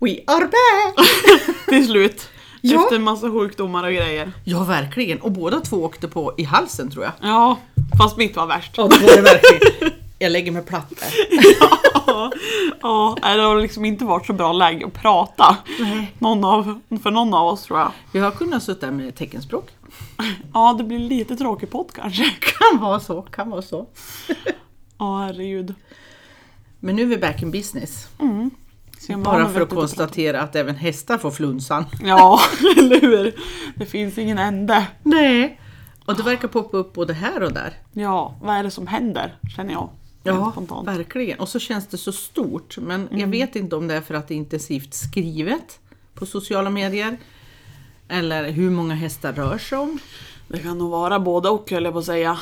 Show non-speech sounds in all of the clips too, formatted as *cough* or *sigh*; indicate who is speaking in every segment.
Speaker 1: We are back!
Speaker 2: Till slut.
Speaker 1: Ja.
Speaker 2: Efter massa sjukdomar och grejer.
Speaker 1: *laughs* Ja, verkligen. Och båda två åkte på i halsen tror jag.
Speaker 2: Ja, fast mitt var värst.
Speaker 1: Ja, det var det *laughs* verkligen. Jag lägger mig platt där.
Speaker 2: Ja, ja, nej, det har liksom inte varit så bra läge att prata. Någon av, för någon av oss tror jag.
Speaker 1: Vi har kunnat sitta med teckenspråk.
Speaker 2: Ja, det blir lite tråkig podd kanske.
Speaker 1: Kan vara så, kan vara så.
Speaker 2: Ja, herregud.
Speaker 1: Men nu är vi back in business.
Speaker 2: Se om
Speaker 1: Bara
Speaker 2: man
Speaker 1: för att
Speaker 2: vet inte-
Speaker 1: konstatera att även hästar får flunsan.
Speaker 2: Ja, *laughs* eller hur? Det finns ingen ände.
Speaker 1: Nej. Och det verkar poppa upp både här och där.
Speaker 2: Ja, vad är det som händer? Känner jag. Rent spontant.
Speaker 1: verkligen. Och så känns det så stort. Men jag vet inte om det är för att det är intensivt skrivet på sociala medier. Eller hur många hästar rör sig om.
Speaker 2: Det kan nog vara både och höll jag på att säga.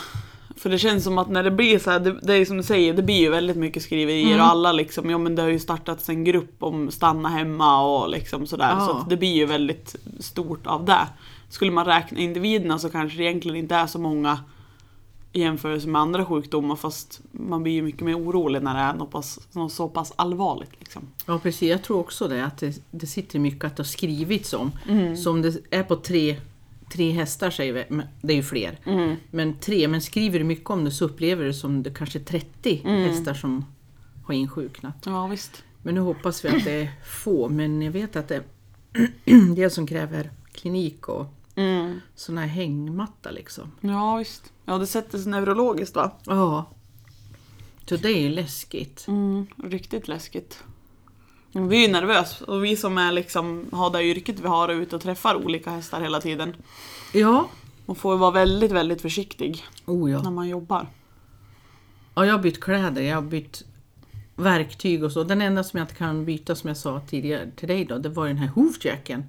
Speaker 2: För det känns som att när det blir så här, det, det är som du säger, det blir ju väldigt mycket skriverier och alla liksom, ja men det har ju startats en grupp om stanna hemma och liksom sådär. Så
Speaker 1: Ja.
Speaker 2: att det blir ju väldigt stort av det. Skulle man räkna individerna så kanske det egentligen inte är så många i jämförelse med andra sjukdomar fast man blir ju mycket mer orolig när det är något, pass, något så pass allvarligt. Liksom.
Speaker 1: Ja precis, jag tror också det. Att det, det sitter mycket att det har skrivits om. Som det är på tre, tre hästar säger vi, men det är ju fler. Men tre, men skriver du mycket om det så upplever du det som det kanske är 30 hästar som har insjuknat.
Speaker 2: Ja visst.
Speaker 1: Men nu hoppas vi att det är få, men jag vet att det är *clears throat* en del som kräver klinik och
Speaker 2: Mm.
Speaker 1: sån här hängmatta liksom.
Speaker 2: Ja visst. Ja det sätter sig neurologiskt va?
Speaker 1: Ja. Så det är ju läskigt.
Speaker 2: Mm, riktigt läskigt. Men Vi är ju nervösa och vi som är liksom, har det yrket vi har och är ute och träffar olika hästar hela tiden.
Speaker 1: Ja.
Speaker 2: Man får ju vara väldigt, väldigt försiktig
Speaker 1: Oh ja.
Speaker 2: när man jobbar.
Speaker 1: Ja, jag har bytt kläder, jag har bytt verktyg och så. Den enda som jag inte kan byta som jag sa tidigare till dig då, det var ju den här hoofjacken.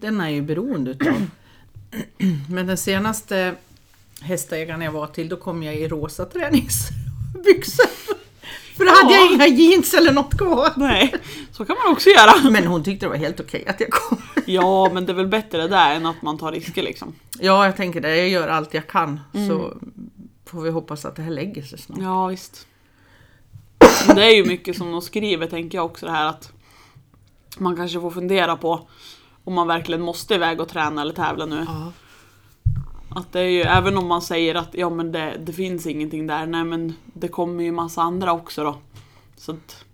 Speaker 1: Den är jag ju beroende utav. *clears throat* Men den senaste hästägaren jag var till, då kom jag i rosa träningsbyxor. *laughs* För då hade jag
Speaker 2: Ja.
Speaker 1: inga jeans eller något kvar.
Speaker 2: Nej, så kan man också göra.
Speaker 1: Men hon tyckte det var helt okej att jag kom. *laughs*
Speaker 2: Ja, men det är väl bättre det där än att man tar risker liksom.
Speaker 1: Ja, jag tänker det. Jag gör allt jag kan. Så får vi hoppas att det här lägger sig snart.
Speaker 2: Ja, visst. Men Det är ju mycket som de skriver tänker jag också det här att man kanske får fundera på om man verkligen måste iväg och träna eller tävla nu.
Speaker 1: Ja.
Speaker 2: Att det är ju, även om man säger att ja, men det, det finns ingenting där, nej men det kommer ju massa andra också då. Så att,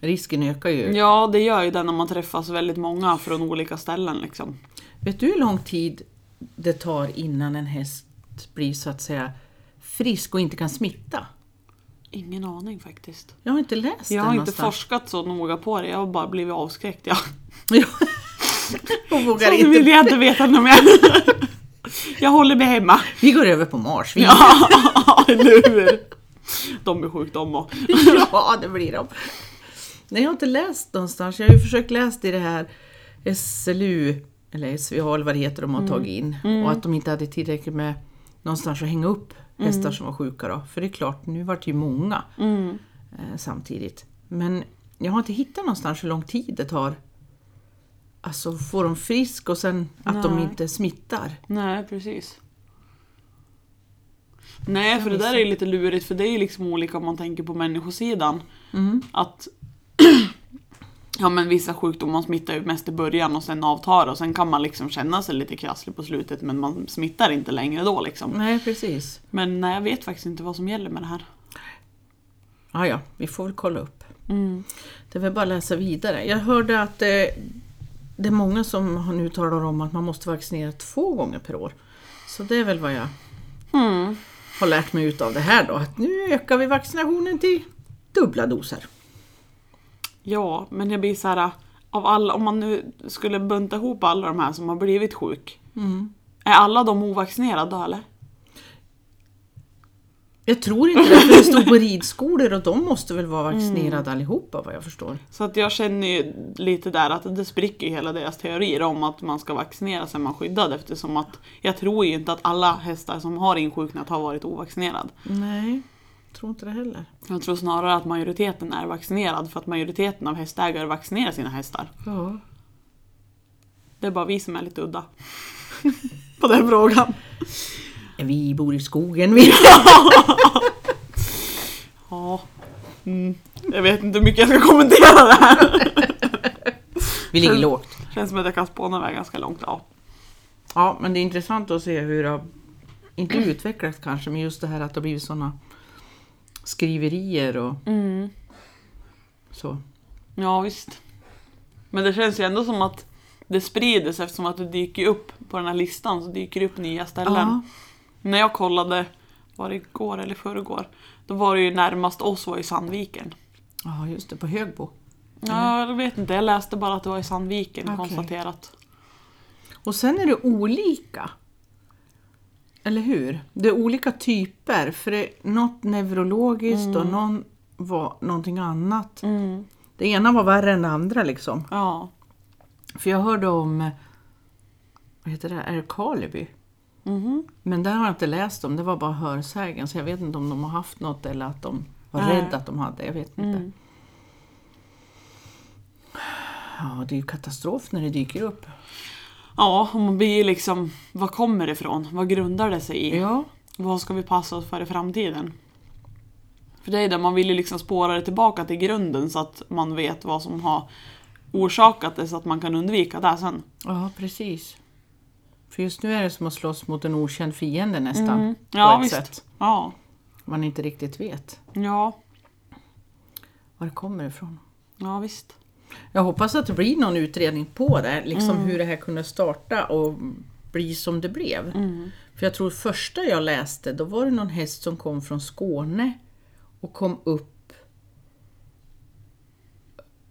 Speaker 1: Risken ökar ju.
Speaker 2: ja, det gör ju det när man träffas väldigt många från olika ställen liksom.
Speaker 1: Vet du hur lång tid det tar innan en häst blir så att säga frisk och inte kan smitta?
Speaker 2: Ingen aning faktiskt.
Speaker 1: Jag har inte läst
Speaker 2: Jag
Speaker 1: det
Speaker 2: har inte
Speaker 1: någonstans.
Speaker 2: forskat så noga på det, jag har bara blivit avskräckt. Ja.
Speaker 1: *laughs* och vågar
Speaker 2: Så *laughs* nu vill
Speaker 1: inte.
Speaker 2: jag inte veta något mer. *laughs* Jag håller mig hemma.
Speaker 1: Vi går över på marsvin. Ja.
Speaker 2: *laughs* Ja, eller hur? De är sjukt de och.
Speaker 1: *laughs*
Speaker 2: *laughs*
Speaker 1: det blir de. Nej, jag har inte läst någonstans. Jag har ju försökt läsa i det här SLU, eller SVA eller vad det heter de har
Speaker 2: Mm.
Speaker 1: tagit in. Och att de inte hade tillräckligt med någonstans att hänga upp hästar som var sjuka. Då. För det är klart, nu vart det ju många.
Speaker 2: Mm.
Speaker 1: eh, samtidigt. Men jag har inte hittat någonstans hur lång tid det tar. Alltså får de frisk och sen att de
Speaker 2: Nej.
Speaker 1: inte smittar.
Speaker 2: Nej, precis. Nej, för det där är ju lite lurigt för det är ju liksom olika om man tänker på människosidan.
Speaker 1: Mm.
Speaker 2: Att *clears throat* ja, men vissa sjukdomar smittar ju mest i början och sen avtar och sen kan man liksom känna sig lite krasslig på slutet men man smittar inte längre då liksom.
Speaker 1: Nej precis.
Speaker 2: Men nej, jag vet faktiskt inte vad som gäller med det här.
Speaker 1: Ah, ja, vi får väl kolla upp.
Speaker 2: Mm.
Speaker 1: Det är väl bara att läsa vidare. Jag hörde att eh, det är många som har nu talar om att man måste vaccinera två gånger per år. Så det är väl vad jag
Speaker 2: Mm.
Speaker 1: har lärt mig ut av det här då. Att nu ökar vi vaccinationen till dubbla doser.
Speaker 2: Ja, men jag blir så här av alla, om man nu skulle bunta ihop alla de här som har blivit sjuk.
Speaker 1: Mm.
Speaker 2: Är alla de ovaccinerade då, eller?
Speaker 1: Jag tror inte det, för det *laughs* stod på ridskolor och de måste väl vara vaccinerade allihopa vad jag förstår.
Speaker 2: Så att jag känner ju lite där att det spricker ju hela deras teorier om att man ska vaccinera sig är man skyddad eftersom att jag tror ju inte att alla hästar som har insjuknat har varit ovaccinerad.
Speaker 1: Nej, tror inte det heller.
Speaker 2: Jag tror snarare att majoriteten är vaccinerad för att majoriteten av hästägare vaccinerar sina hästar.
Speaker 1: Ja.
Speaker 2: Det är bara vi som är lite udda. *laughs* På den frågan.
Speaker 1: Vi bor i skogen vi.
Speaker 2: Ja. Mm. Jag vet inte hur mycket jag ska kommentera det här.
Speaker 1: Vi ligger lågt.
Speaker 2: Känns som att jag kan spåna iväg ganska långt. Ja.
Speaker 1: Ja, men det är intressant att se hur det har, inte utvecklats kanske, men just det här att det har blivit sådana skriverier och så.
Speaker 2: Ja, visst. Men det känns ju ändå som att det sprider sig eftersom att det dyker upp på den här listan så dyker det upp nya ställen.
Speaker 1: Ja.
Speaker 2: När jag kollade, var det igår eller förrgår? Då var det ju närmast oss var i Sandviken.
Speaker 1: ja, just det, på Högbo.
Speaker 2: Ja, jag vet inte, jag läste bara att det var i Sandviken
Speaker 1: Mm. Okej.
Speaker 2: konstaterat.
Speaker 1: Och sen är det olika. Eller hur? Det är olika typer. För det är något neurologiskt och någon var någonting annat. Det ena var värre än det andra liksom.
Speaker 2: Ja.
Speaker 1: För jag hörde om, eh, vad heter det, Älvkarleby.
Speaker 2: Mhm.
Speaker 1: Men där har jag inte läst om, det var bara hörsägen. Så jag vet inte om de har haft något eller att de var
Speaker 2: Nej. Mm.
Speaker 1: rädda att de hade. Jag vet inte. Ja, det är ju katastrof när det dyker upp.
Speaker 2: Ja, och man blir ju liksom, vad kommer det ifrån? Vad grundar det sig i?
Speaker 1: Ja.
Speaker 2: Vad ska vi passa oss för i framtiden? För det är det, man vill ju liksom spåra det tillbaka till grunden så att man vet vad som har orsakat det så att man kan undvika det sen.
Speaker 1: Ja, precis. För just nu är det som att slåss mot en okänd fiende nästan.
Speaker 2: Mm.
Speaker 1: På
Speaker 2: Ja,
Speaker 1: ett
Speaker 2: visst.
Speaker 1: sätt.
Speaker 2: Ja.
Speaker 1: Man inte riktigt vet
Speaker 2: Ja.
Speaker 1: var det kommer ifrån.
Speaker 2: ja, visst.
Speaker 1: Jag hoppas att det blir någon utredning på det, liksom hur det här kunde starta och bli som det blev. För jag tror första jag läste, då var det någon häst som kom från Skåne och kom upp.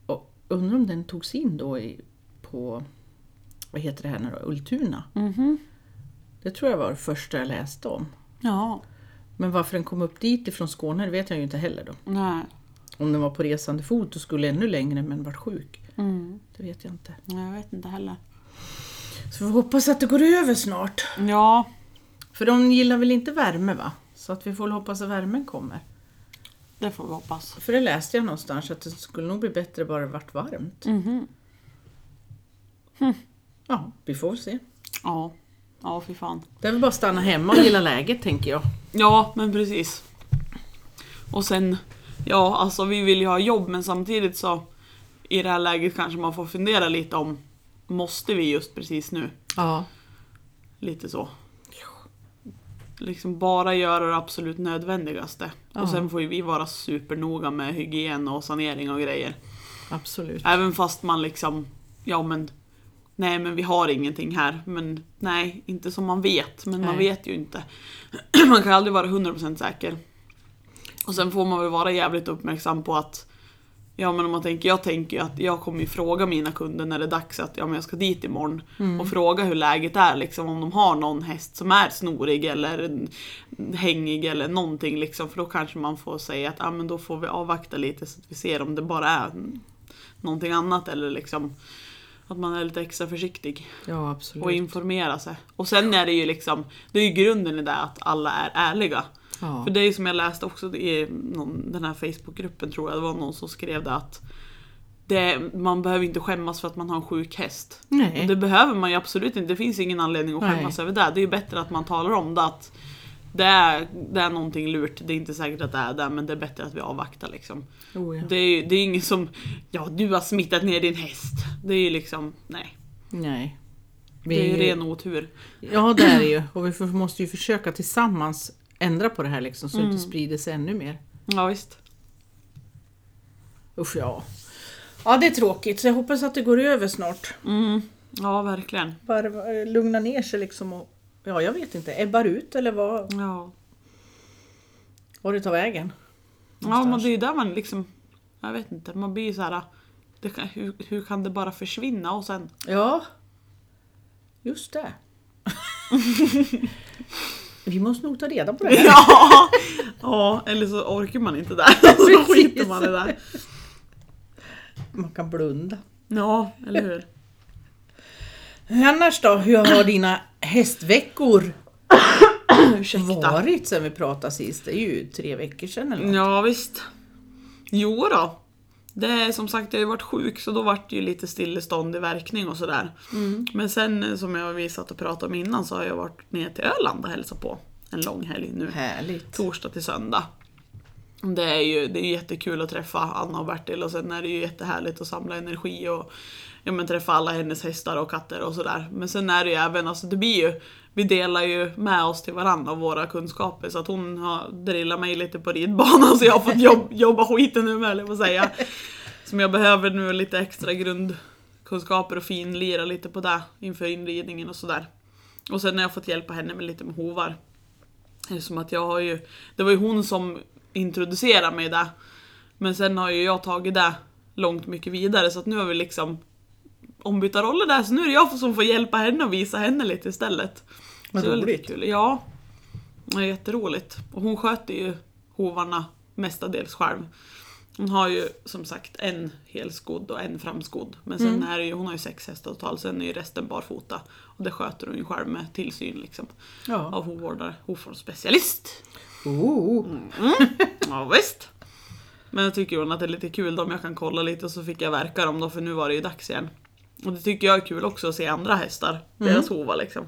Speaker 1: Och undrar om den togs in då i, på, vad heter det här nu då, Ultuna? Det tror jag var det första jag läste om.
Speaker 2: Ja.
Speaker 1: Men varför den kom upp dit ifrån Skåne det vet jag ju inte heller då.
Speaker 2: Nej.
Speaker 1: Om den var på resande fot och skulle ännu längre men var sjuk.
Speaker 2: Mm.
Speaker 1: Det vet jag inte.
Speaker 2: Nej, Jag vet inte heller.
Speaker 1: Så vi hoppas att det går över snart.
Speaker 2: Ja.
Speaker 1: För de gillar väl inte värme va? Så att vi får väl hoppas att värmen kommer.
Speaker 2: Det får vi hoppas.
Speaker 1: För det läste jag någonstans att det skulle nog bli bättre bara det vart varmt. Ja, vi får väl se.
Speaker 2: Ja. Ja, fy fan.
Speaker 1: Det är väl bara att stanna hemma och gilla läget tänker jag.
Speaker 2: Ja, men precis. Och sen, ja alltså vi vill ju ha jobb men samtidigt så i det här läget kanske man får fundera lite om måste vi just precis nu?
Speaker 1: Ja.
Speaker 2: Lite så. Liksom bara göra det absolut nödvändigaste.
Speaker 1: Ja.
Speaker 2: Och sen får ju vi vara supernoga med hygien och sanering och grejer.
Speaker 1: Absolut.
Speaker 2: Även fast man liksom, ja men Nej men vi har ingenting här. Men nej, inte som man vet. Men man
Speaker 1: Nej.
Speaker 2: vet ju inte. *clears throat* man kan aldrig vara 100% säker. Och sen får man väl vara jävligt uppmärksam på att Ja men om man tänker, jag tänker ju att jag kommer ju fråga mina kunder när det är dags att ja, men jag ska dit imorgon. Och fråga hur läget är liksom om de har någon häst som är snorig eller hängig eller någonting liksom. För då kanske man får säga att ja, men då får vi avvakta lite så att vi ser om det bara är någonting annat eller liksom att man är lite extra försiktig
Speaker 1: Ja, absolut.
Speaker 2: och informera sig. Och sen är det ju liksom, det är ju grunden i det att alla är ärliga.
Speaker 1: ja.
Speaker 2: För det är ju som jag läste också i någon, den här Facebookgruppen tror jag, det var någon som skrev det att det, man behöver inte skämmas för att man har en sjuk häst. Och
Speaker 1: Nej.
Speaker 2: det behöver man ju absolut inte, det finns ingen anledning att
Speaker 1: Nej.
Speaker 2: skämmas över det. Det är ju bättre att man talar om det att det är, det är någonting lurt, det är inte säkert att det är det men det är bättre att vi avvaktar liksom.
Speaker 1: Oh, ja.
Speaker 2: Det är ju det är ingen som, ja du har smittat ner din häst. Det är ju liksom, nej.
Speaker 1: Nej. Vi
Speaker 2: Det är ju ren otur.
Speaker 1: Ja, det är det ju. Och vi får- måste ju försöka tillsammans ändra på det här liksom, så det inte sprider sig ännu mer.
Speaker 2: Ja visst.
Speaker 1: Usch ja. Ja, det är tråkigt. Så jag hoppas att det går över snart.
Speaker 2: Mm. Ja verkligen.
Speaker 1: Bara eh, lugna ner sig liksom och... Ja, jag vet inte. Ebbar ut eller vad,
Speaker 2: Ja,
Speaker 1: vad det tar vägen.
Speaker 2: ja men det är ju där man liksom, jag vet inte, man blir ju såhär, det kan, hur, hur kan det bara försvinna och sen,
Speaker 1: Ja. Just det. *laughs* vi måste nog ta reda på det här.
Speaker 2: ja! ja, eller så orkar man inte där. *laughs* Så skiter man i det där.
Speaker 1: Man kan blunda.
Speaker 2: Ja, eller hur.
Speaker 1: Annars då? Hur har dina hästveckor
Speaker 2: Ursäkta.
Speaker 1: varit sen vi pratade sist? Det är ju tre veckor sedan eller något.
Speaker 2: Ja visst. Jo då. Det är som sagt, jag har ju varit sjuk så då vart det ju lite stillestånd i verkning och sådär.
Speaker 1: Mm.
Speaker 2: Men sen eh, som jag visat och pratat om innan så har jag varit ner till Öland och hälsat på en lång helg nu.
Speaker 1: Mm. Härligt.
Speaker 2: torsdag till söndag. Det är ju det är jättekul att träffa Anna och Bertil och sen är det ju jättehärligt att samla energi och ja, men träffa alla hennes hästar och katter och sådär. Men sen är det ju även, alltså det blir ju, vi delar ju med oss till varandra av våra kunskaper så att hon har drillat mig lite på *laughs* ridbanan så jag har fått jobb, jobba skiten nu med, eller vad säga. Som jag behöver nu lite extra grundkunskaper och finlira lite på det inför inridningen och sådär. Och sen har jag fått hjälpa henne med lite med hovar. Som att jag har ju, det var ju hon som introducerade mig där. Men sen har ju jag tagit det långt mycket vidare så att nu har vi liksom ombytta roller där så nu är det jag som får hjälpa henne och visa henne lite istället.
Speaker 1: Vad
Speaker 2: så det var lite
Speaker 1: roligt.
Speaker 2: kul. Ja. Det var jätteroligt. Och hon sköter ju hovarna mestadels själv. Hon har ju som sagt en helskodd och en framskodd. Men sen är det ju, hon har ju sex hästar totalt, sen är ju resten barfota. Och det sköter hon ju själv med tillsyn liksom.
Speaker 1: Ja.
Speaker 2: Av hovvårdare, hovvårdsspecialist.
Speaker 1: Oh.
Speaker 2: Ja visst. Men jag tycker hon att det är lite kul då, om jag kan kolla lite och så fick jag verka dem då för nu var det ju dags igen. Och det tycker jag är kul också att se andra hästar, deras hovar liksom.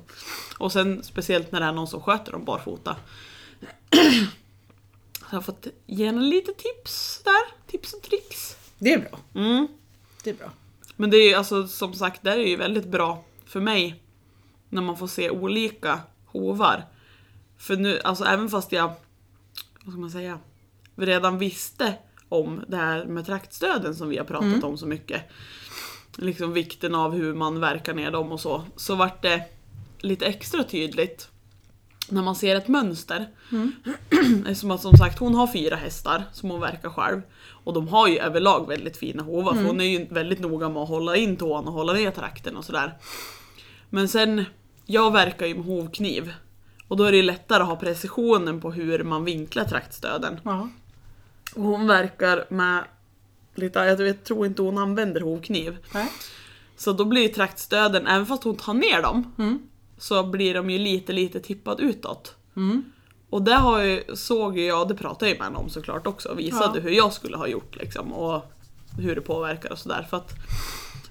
Speaker 2: Och sen speciellt när det är någon som sköter dem barfota. *clears throat* Så jag har fått ge henne lite tips där, tips och tricks.
Speaker 1: Det är bra.
Speaker 2: Mm.
Speaker 1: Det är bra.
Speaker 2: Men det är ju alltså som sagt, det är ju väldigt bra för mig när man får se olika hovar. För nu, alltså även fast jag, vad ska man säga, redan visste om det här med traktstöden som vi har pratat om så mycket. Liksom vikten av hur man verkar ner dem och så. Så vart det lite extra tydligt när man ser ett mönster. *clears throat* Eftersom att som sagt hon har fyra hästar som hon verkar själv. Och de har ju överlag väldigt fina hovar för hon är ju väldigt noga med att hålla in tån och hålla ner trakten och sådär. Men sen, jag verkar ju med hovkniv. Och då är det ju lättare att ha precisionen på hur man vinklar traktstöden.
Speaker 1: Ja.
Speaker 2: Och hon verkar med lite, jag vet- tror inte hon använder hovkniv.
Speaker 1: Nej.
Speaker 2: Så då blir ju traktstöden, även fast hon tar ner dem,
Speaker 1: Mm.
Speaker 2: så blir de ju lite lite tippade utåt.
Speaker 1: Mm.
Speaker 2: Och det har ju, såg ju jag, det pratade jag ju med henne om såklart också, och visade
Speaker 1: Ja.
Speaker 2: hur jag skulle ha gjort liksom och hur det påverkar och sådär. För att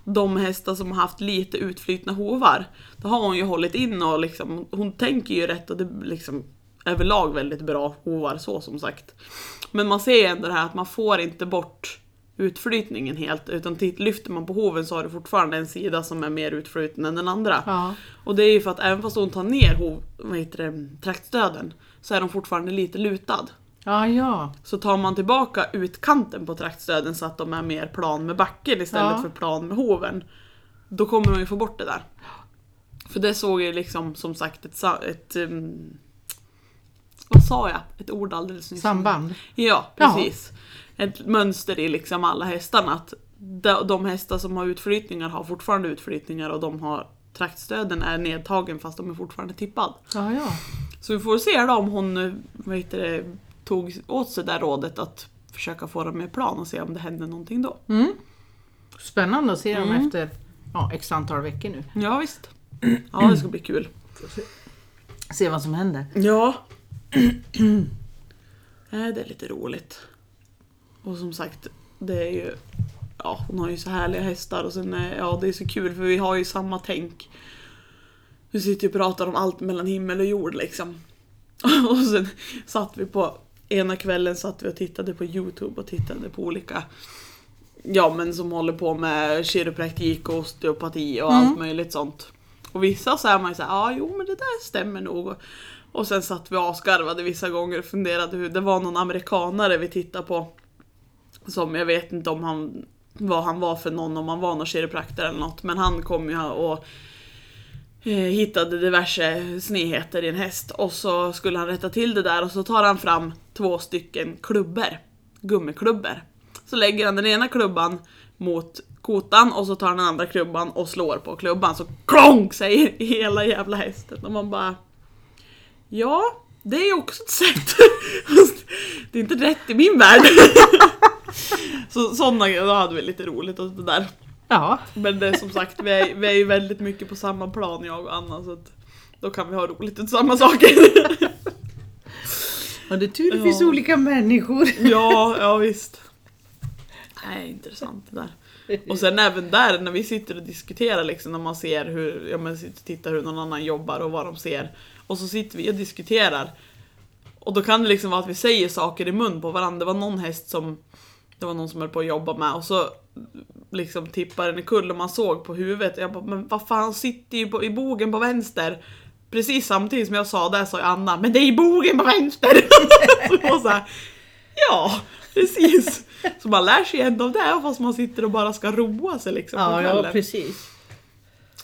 Speaker 2: de hästar som har haft lite utflutna hovar, då har hon ju hållit in och liksom, hon tänker ju rätt och det är liksom överlag väldigt bra hovar så som sagt. Men man ser ju ändå det här att man får inte bort utflytningen helt utan titt, lyfter man på hoven så har du fortfarande en sida som är mer utfluten än den andra.
Speaker 1: Ja.
Speaker 2: Och det är ju för att även fast hon tar ner hov, vad heter det, traktstöden så är de fortfarande lite lutad.
Speaker 1: Ja, ja.
Speaker 2: Så tar man tillbaka utkanten på traktstöden så att de är mer plan med backen istället
Speaker 1: Ja.
Speaker 2: för plan med hoven. Då kommer hon ju få bort det där. För det såg jag liksom som sagt ett, sa- ett um, vad sa jag? Ett ord alldeles nyss.
Speaker 1: Samband.
Speaker 2: Ja,
Speaker 1: Jaha.
Speaker 2: precis. Ett mönster i liksom alla hästarna. Att de- de hästar som har utflytningar har fortfarande utflytningar och de har traktstöden är nedtagen fast de är fortfarande tippad.
Speaker 1: Ja, ja.
Speaker 2: Så vi får se då om hon eh, vad heter det, tog åt sig det där rådet att försöka få dem med plan och se om det händer någonting då.
Speaker 1: Mm. Spännande att se dem
Speaker 2: Mm.
Speaker 1: efter ja, x antal veckor nu.
Speaker 2: Ja visst. Ja det ska bli kul.
Speaker 1: Se vad som händer.
Speaker 2: Ja. *clears throat* Nej, det är lite roligt. Och som sagt, det är ju... Ja, hon har ju så härliga hästar och sen är, ja, det är så kul för vi har ju samma tänk. Vi sitter ju och pratar om allt mellan himmel och jord liksom. *laughs* Och sen satt vi på... Ena kvällen satt vi och tittade på Youtube och tittade på olika... Ja men som håller på med kiropraktik och osteopati och allt möjligt sånt. Och vissa så är man ju såhär, ja ah, jo men det där stämmer nog. Och- Och sen satt vi och asgarvade vissa gånger och funderade hur, det var någon amerikanare vi tittade på. Som jag vet inte om han, vad han var för någon, om han var någon kiropraktor eller något. Men han kom ju här och eh, hittade diverse snedheter i en häst. Och så skulle han rätta till det där och så tar han fram två stycken klubbor. Gummiklubbor. Så lägger han den ena klubban mot kotan och så tar han den andra klubban och slår på klubban så klonk säger hela jävla hästen och man bara Ja, det är ju också ett sätt. *laughs* Fast det är inte rätt i min värld. *laughs* så sådana grejer, då hade vi lite roligt och det där.
Speaker 1: Ja,
Speaker 2: Men det är som sagt, vi är, vi är ju väldigt mycket på samma plan jag och Anna så att då kan vi ha roligt åt samma *laughs* saker.
Speaker 1: och det är tur det
Speaker 2: Ja.
Speaker 1: finns olika människor.
Speaker 2: ja, ja visst. Nej, intressant det där. *laughs* Och sen även där när vi sitter och diskuterar liksom när man ser hur, ja men sitter och tittar hur någon annan jobbar och vad de ser. Och så sitter vi och diskuterar. Och då kan det liksom vara att vi säger saker i mun på varandra. Det var någon häst som det var någon som höll på att jobba med och så liksom tippade den kull och man såg på huvudet. Jag bara, men vad fan, han sitter ju på, i bogen på vänster. Precis samtidigt som jag sa det sa ju Anna, men det är i bogen på vänster! *laughs* så och så här, ja, precis. Så man lär sig ändå av det fast man sitter och bara ska roa sig liksom. på
Speaker 1: Ja, ja
Speaker 2: kvällen.
Speaker 1: precis.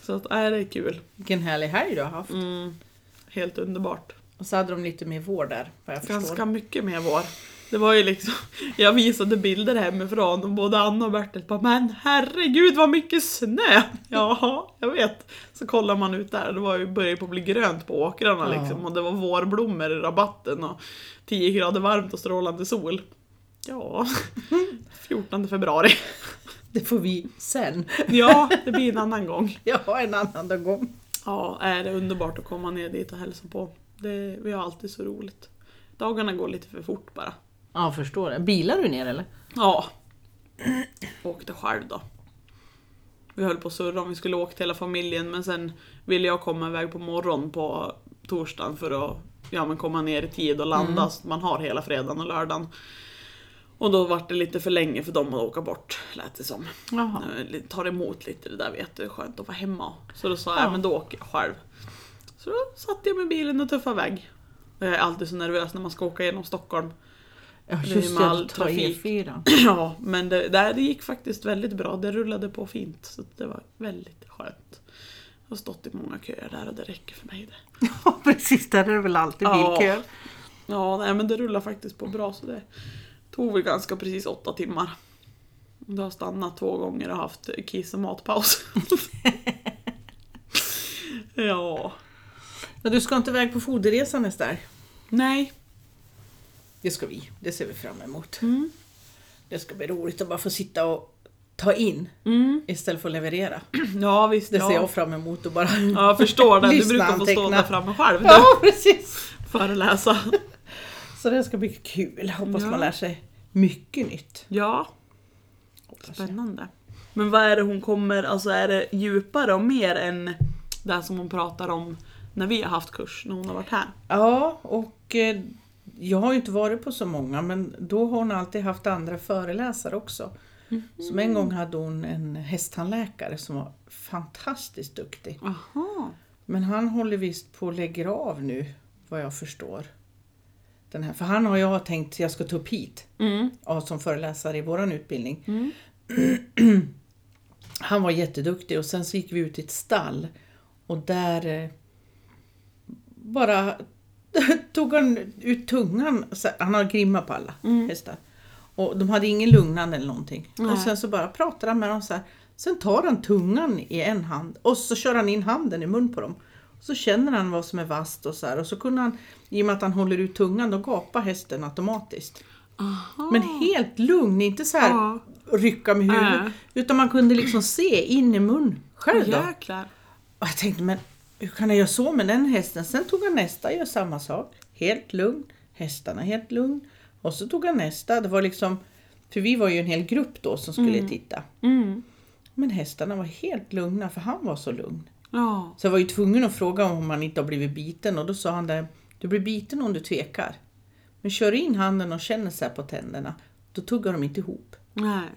Speaker 2: så att, nej, det är kul.
Speaker 1: Vilken härlig helg du har haft.
Speaker 2: Mm. Helt underbart.
Speaker 1: Och så hade de lite mer vår där, vad jag
Speaker 2: Ganska
Speaker 1: förstår.
Speaker 2: mycket mer vår. Det var ju liksom, *laughs* jag visade bilder hemifrån och både Anna och Bertil bara Men herregud vad mycket snö! *laughs* Jaha, jag vet. Så kollar man ut där, det var ju, började ju på att bli grönt på åkrarna
Speaker 1: Ja.
Speaker 2: liksom och det var vårblommor i rabatten och 10 grader varmt och strålande sol. Ja, *laughs* 14 februari. *laughs*
Speaker 1: Det får vi sen. *laughs*
Speaker 2: Ja, det blir en annan gång.
Speaker 1: Jag har en annan gång.
Speaker 2: Ja, är det är underbart att komma ner dit och hälsa på. Det, vi har alltid så roligt. Dagarna går lite för fort bara.
Speaker 1: Ja, förstår det. Bilar du ner eller?
Speaker 2: Ja. Åkte själv då. Vi höll på att surra om vi skulle åka till hela familjen men sen ville jag komma iväg på morgonen på torsdagen för att ja, men komma ner i tid och landa
Speaker 1: Mm.
Speaker 2: så att man har hela fredagen och lördagen. Och då vart det lite för länge för dem att åka bort lät det som.
Speaker 1: Jaha.
Speaker 2: Nu Tar emot lite det där vet du, det är skönt att vara hemma. Så då sa jag,
Speaker 1: Ja.
Speaker 2: men då åker jag själv. Så då satte jag mig i bilen och tuffade iväg. Jag är alltid så nervös när man ska åka genom Stockholm.
Speaker 1: Ja,
Speaker 2: Det är
Speaker 1: just det.
Speaker 2: ju
Speaker 1: E
Speaker 2: med all
Speaker 1: att Ta
Speaker 2: trafik.
Speaker 1: E4.
Speaker 2: *clears throat* Ja, men det, det, här- det gick faktiskt väldigt bra. Det rullade på fint. Så det var väldigt skönt. Jag har stått i många köer där och det räcker för mig. Det.
Speaker 1: *laughs* Ja, precis. Där är det väl alltid
Speaker 2: Ja.
Speaker 1: bilkö.
Speaker 2: Ja, nej, men det rullar faktiskt på bra. Så det tog väl ganska precis åtta timmar. Du har stannat två gånger och haft kiss och matpaus. *laughs* ja.
Speaker 1: Ja, du ska inte iväg på foderresa nästa helg?
Speaker 2: Nej.
Speaker 1: Det ska vi. Det ser vi fram emot.
Speaker 2: Mm.
Speaker 1: Det ska bli roligt att bara få sitta och ta in
Speaker 2: Mm.
Speaker 1: istället för att leverera.
Speaker 2: Ja, visst.
Speaker 1: Det
Speaker 2: ja.
Speaker 1: ser jag fram emot och bara...
Speaker 2: Ja, jag förstår det. Du
Speaker 1: Lyssna,
Speaker 2: brukar få stå
Speaker 1: anteckna.
Speaker 2: där framme själv du,
Speaker 1: *laughs* Ja, precis!
Speaker 2: föreläsa.
Speaker 1: Så det ska bli kul. Hoppas
Speaker 2: Ja.
Speaker 1: man lär sig mycket nytt.
Speaker 2: Ja.
Speaker 1: Hoppas jag.
Speaker 2: Spännande. Men vad är det hon kommer, alltså är det djupare och mer än det som hon pratar om när vi har haft kurs, när hon har varit här?
Speaker 1: Ja, och eh, jag har ju inte varit på så många men då har hon alltid haft andra föreläsare också. Som en gång hade hon en hästtandläkare som var fantastiskt duktig.
Speaker 2: Aha.
Speaker 1: Men han håller visst på och lägger av nu, vad jag förstår. Den här, för han har jag tänkt att jag ska ta upp hit
Speaker 2: Mm.
Speaker 1: ja, som föreläsare i våran utbildning. *clears throat* Han var jätteduktig och sen så gick vi ut i ett stall och där eh, bara *laughs* tog han ut tungan. Så han har grimma på alla hästar. Och de hade ingen lugnande eller någonting.
Speaker 2: Mm. Nej.
Speaker 1: Och sen så bara pratade han med dem så här. Sen tar han tungan i en hand och så kör han in handen i mun på dem. Så känner han vad som är vasst och så här. Och så kunde han, i och med att han håller ut tungan, då gapar hästen automatiskt.
Speaker 2: Aha.
Speaker 1: Men helt lugn, inte så här
Speaker 2: Ja.
Speaker 1: rycka med huvudet.
Speaker 2: Nej.
Speaker 1: Utan man kunde liksom se in i mun själv då.
Speaker 2: Ah. Jäklar.
Speaker 1: Och jag tänkte, men hur kan jag göra så med den hästen? Sen tog han nästa och gör samma sak. Helt lugn. Hästarna helt lugn. Och så tog han nästa. Det var liksom, för vi var ju en hel grupp då som skulle titta.
Speaker 2: Mm.
Speaker 1: Men hästarna var helt lugna för han var så lugn.
Speaker 2: Ja.
Speaker 1: Så jag var ju tvungen att fråga om han inte har blivit biten och då sa han det, du blir biten om du tvekar. Men kör in handen och känner så här på tänderna, då tuggar de inte ihop.
Speaker 2: Nej.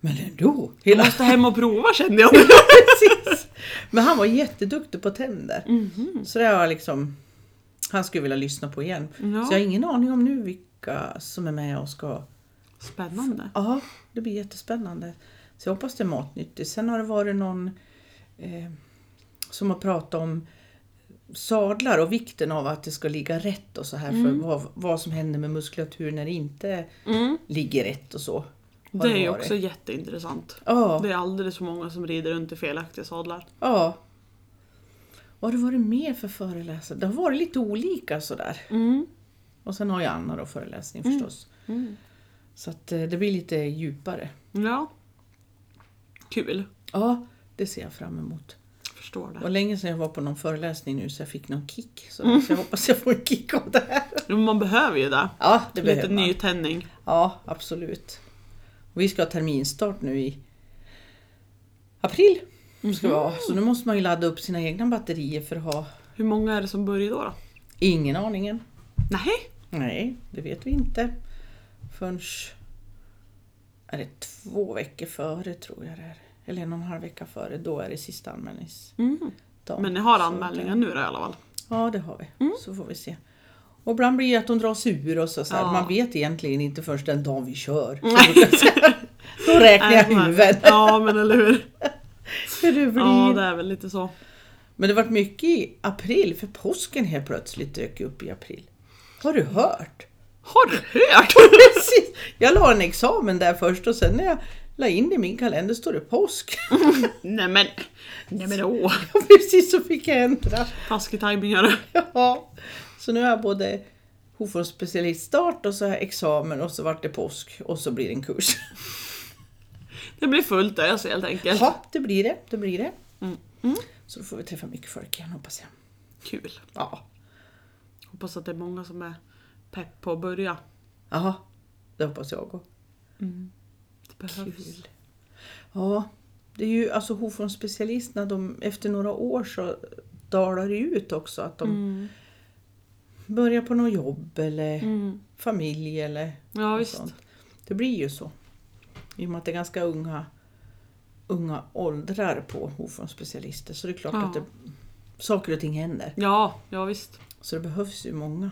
Speaker 1: Men ändå!
Speaker 2: Jag
Speaker 1: Hela...
Speaker 2: måste hem och prova kände *laughs* jag
Speaker 1: *laughs*
Speaker 2: nu.
Speaker 1: Precis. Men han var jätteduktig på tänder. Så det var liksom, han skulle vilja lyssna på igen.
Speaker 2: Mhm. Ja.
Speaker 1: Så jag har ingen aning om nu vilka som är med och ska...
Speaker 2: Spännande.
Speaker 1: Ja, det blir jättespännande. Så jag hoppas det är matnyttigt. Sen har det varit någon eh, som har pratat om sadlar och vikten av att det ska ligga rätt och så här
Speaker 2: Mm.
Speaker 1: för vad, vad som händer med muskulatur när det inte ligger rätt och så. har
Speaker 2: Det är ju
Speaker 1: varit.
Speaker 2: också jätteintressant.
Speaker 1: Ja.
Speaker 2: Det är alldeles för många som rider runt i felaktiga sadlar.
Speaker 1: Ja. Vad har det varit mer för föreläsare? Det har varit lite olika sådär. Och sen har ju Anna då föreläsning förstås. Så att eh, det blir lite djupare.
Speaker 2: Ja. Kul.
Speaker 1: Ja, det ser jag fram emot.
Speaker 2: Förstår det.
Speaker 1: Och länge sedan jag var på någon föreläsning nu så jag fick någon kick. Så, så jag hoppas jag får en kick av det här.
Speaker 2: Men man behöver ju det.
Speaker 1: Ja, det
Speaker 2: Lite
Speaker 1: behöver man.
Speaker 2: nytändning.
Speaker 1: Ja, absolut. Och vi ska ha terminstart nu i april. Ska vi ha. Så nu måste man ju ladda upp sina egna batterier för att ha
Speaker 2: Hur många är det som börjar då? då?
Speaker 1: ingen aningen.
Speaker 2: Nej.
Speaker 1: Nej, det vet vi inte förrän är det två veckor före tror jag det är. Eller en och en halv vecka före, då är det sista anmälningsdagen.
Speaker 2: Mm. Men ni har Mm. anmälningar nu då, i alla fall?
Speaker 1: Ja, det har vi. Så får vi se. Och ibland blir det att de dras ur och så. så här.
Speaker 2: Ja.
Speaker 1: Man vet egentligen inte först den dagen vi kör. *laughs* Då räknar
Speaker 2: *laughs*
Speaker 1: jag huvudet.
Speaker 2: Ja men eller hur.
Speaker 1: Hur det blir.
Speaker 2: Ja det är väl lite så.
Speaker 1: Men det vart mycket i april, för påsken helt plötsligt dök upp i april. Har du hört?
Speaker 2: Har du hört?
Speaker 1: *laughs* Precis! Jag la en examen där först och sen när jag la in det i min kalender står det påsk.
Speaker 2: *laughs*
Speaker 1: *laughs*
Speaker 2: Nej men. Nej men åh.
Speaker 1: Ja, Precis så fick jag ändra.
Speaker 2: Taskig tajming gör du.
Speaker 1: Ja. Så nu har jag både Hofors specialiststart och så har jag examen och så vart det påsk och så blir det en kurs.
Speaker 2: Det blir fullt ös helt enkelt.
Speaker 1: Ja, det blir det. Det blir det.
Speaker 2: Mm.
Speaker 1: Så då får vi träffa mycket folk igen hoppas jag.
Speaker 2: Kul.
Speaker 1: Ja.
Speaker 2: Hoppas att det är många som är pepp på att börja.
Speaker 1: Jaha. Det hoppas jag också.
Speaker 2: Det behövs.
Speaker 1: Kul. Ja, det är ju alltså Hofons specialisterna, de, efter några år så dalar det ut också att de
Speaker 2: Mm.
Speaker 1: börjar på något jobb eller
Speaker 2: Mm.
Speaker 1: familj eller
Speaker 2: Ja
Speaker 1: något
Speaker 2: visst.
Speaker 1: sånt. Det blir ju så. I och med att det är ganska unga, unga åldrar på Hofons specialister så det är klart
Speaker 2: Ja.
Speaker 1: att det, saker och ting händer.
Speaker 2: Ja, ja visst.
Speaker 1: Så det behövs ju många.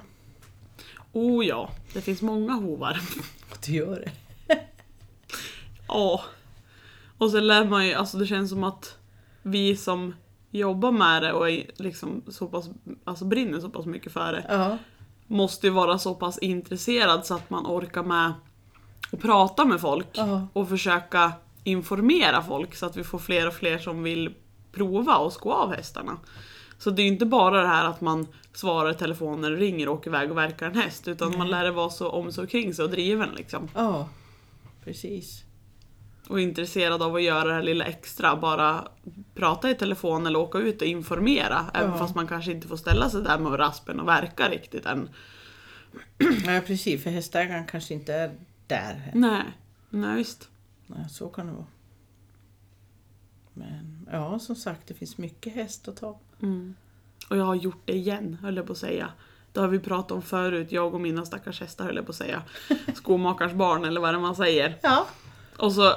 Speaker 2: Oh ja, det finns många hovar.
Speaker 1: Och det gör det.
Speaker 2: Ja. Och så lär man ju, alltså det känns som att vi som jobbar med det och är liksom så pass, alltså brinner så pass mycket för det
Speaker 1: Ja.
Speaker 2: måste ju vara så pass intresserad så att man orkar med att prata med folk
Speaker 1: Ja.
Speaker 2: och försöka informera folk så att vi får fler och fler som vill prova och gå av hästarna. Så det är ju inte bara det här att man svarar i telefon när det ringer och åker iväg och verkar en häst utan man lär det vara så om sig och kring sig och driven liksom.
Speaker 1: ja, precis.
Speaker 2: och är intresserad av att göra det här lilla extra. Bara prata i telefon eller åka ut och informera. Även
Speaker 1: Ja.
Speaker 2: fast man kanske inte får ställa sig där med raspen och verka riktigt än.
Speaker 1: Nej, precis, för hästägaren kanske inte är där än.
Speaker 2: Nej, nej visst.
Speaker 1: Nej, så kan det vara. Men ja, som sagt, det finns mycket häst att ta.
Speaker 2: Och jag har gjort det igen, höll jag på att säga. Det har vi pratat om förut, jag och mina stackars hästar höll jag på att säga. Skomakarens barn eller vad det är man säger.
Speaker 1: Ja.
Speaker 2: Och så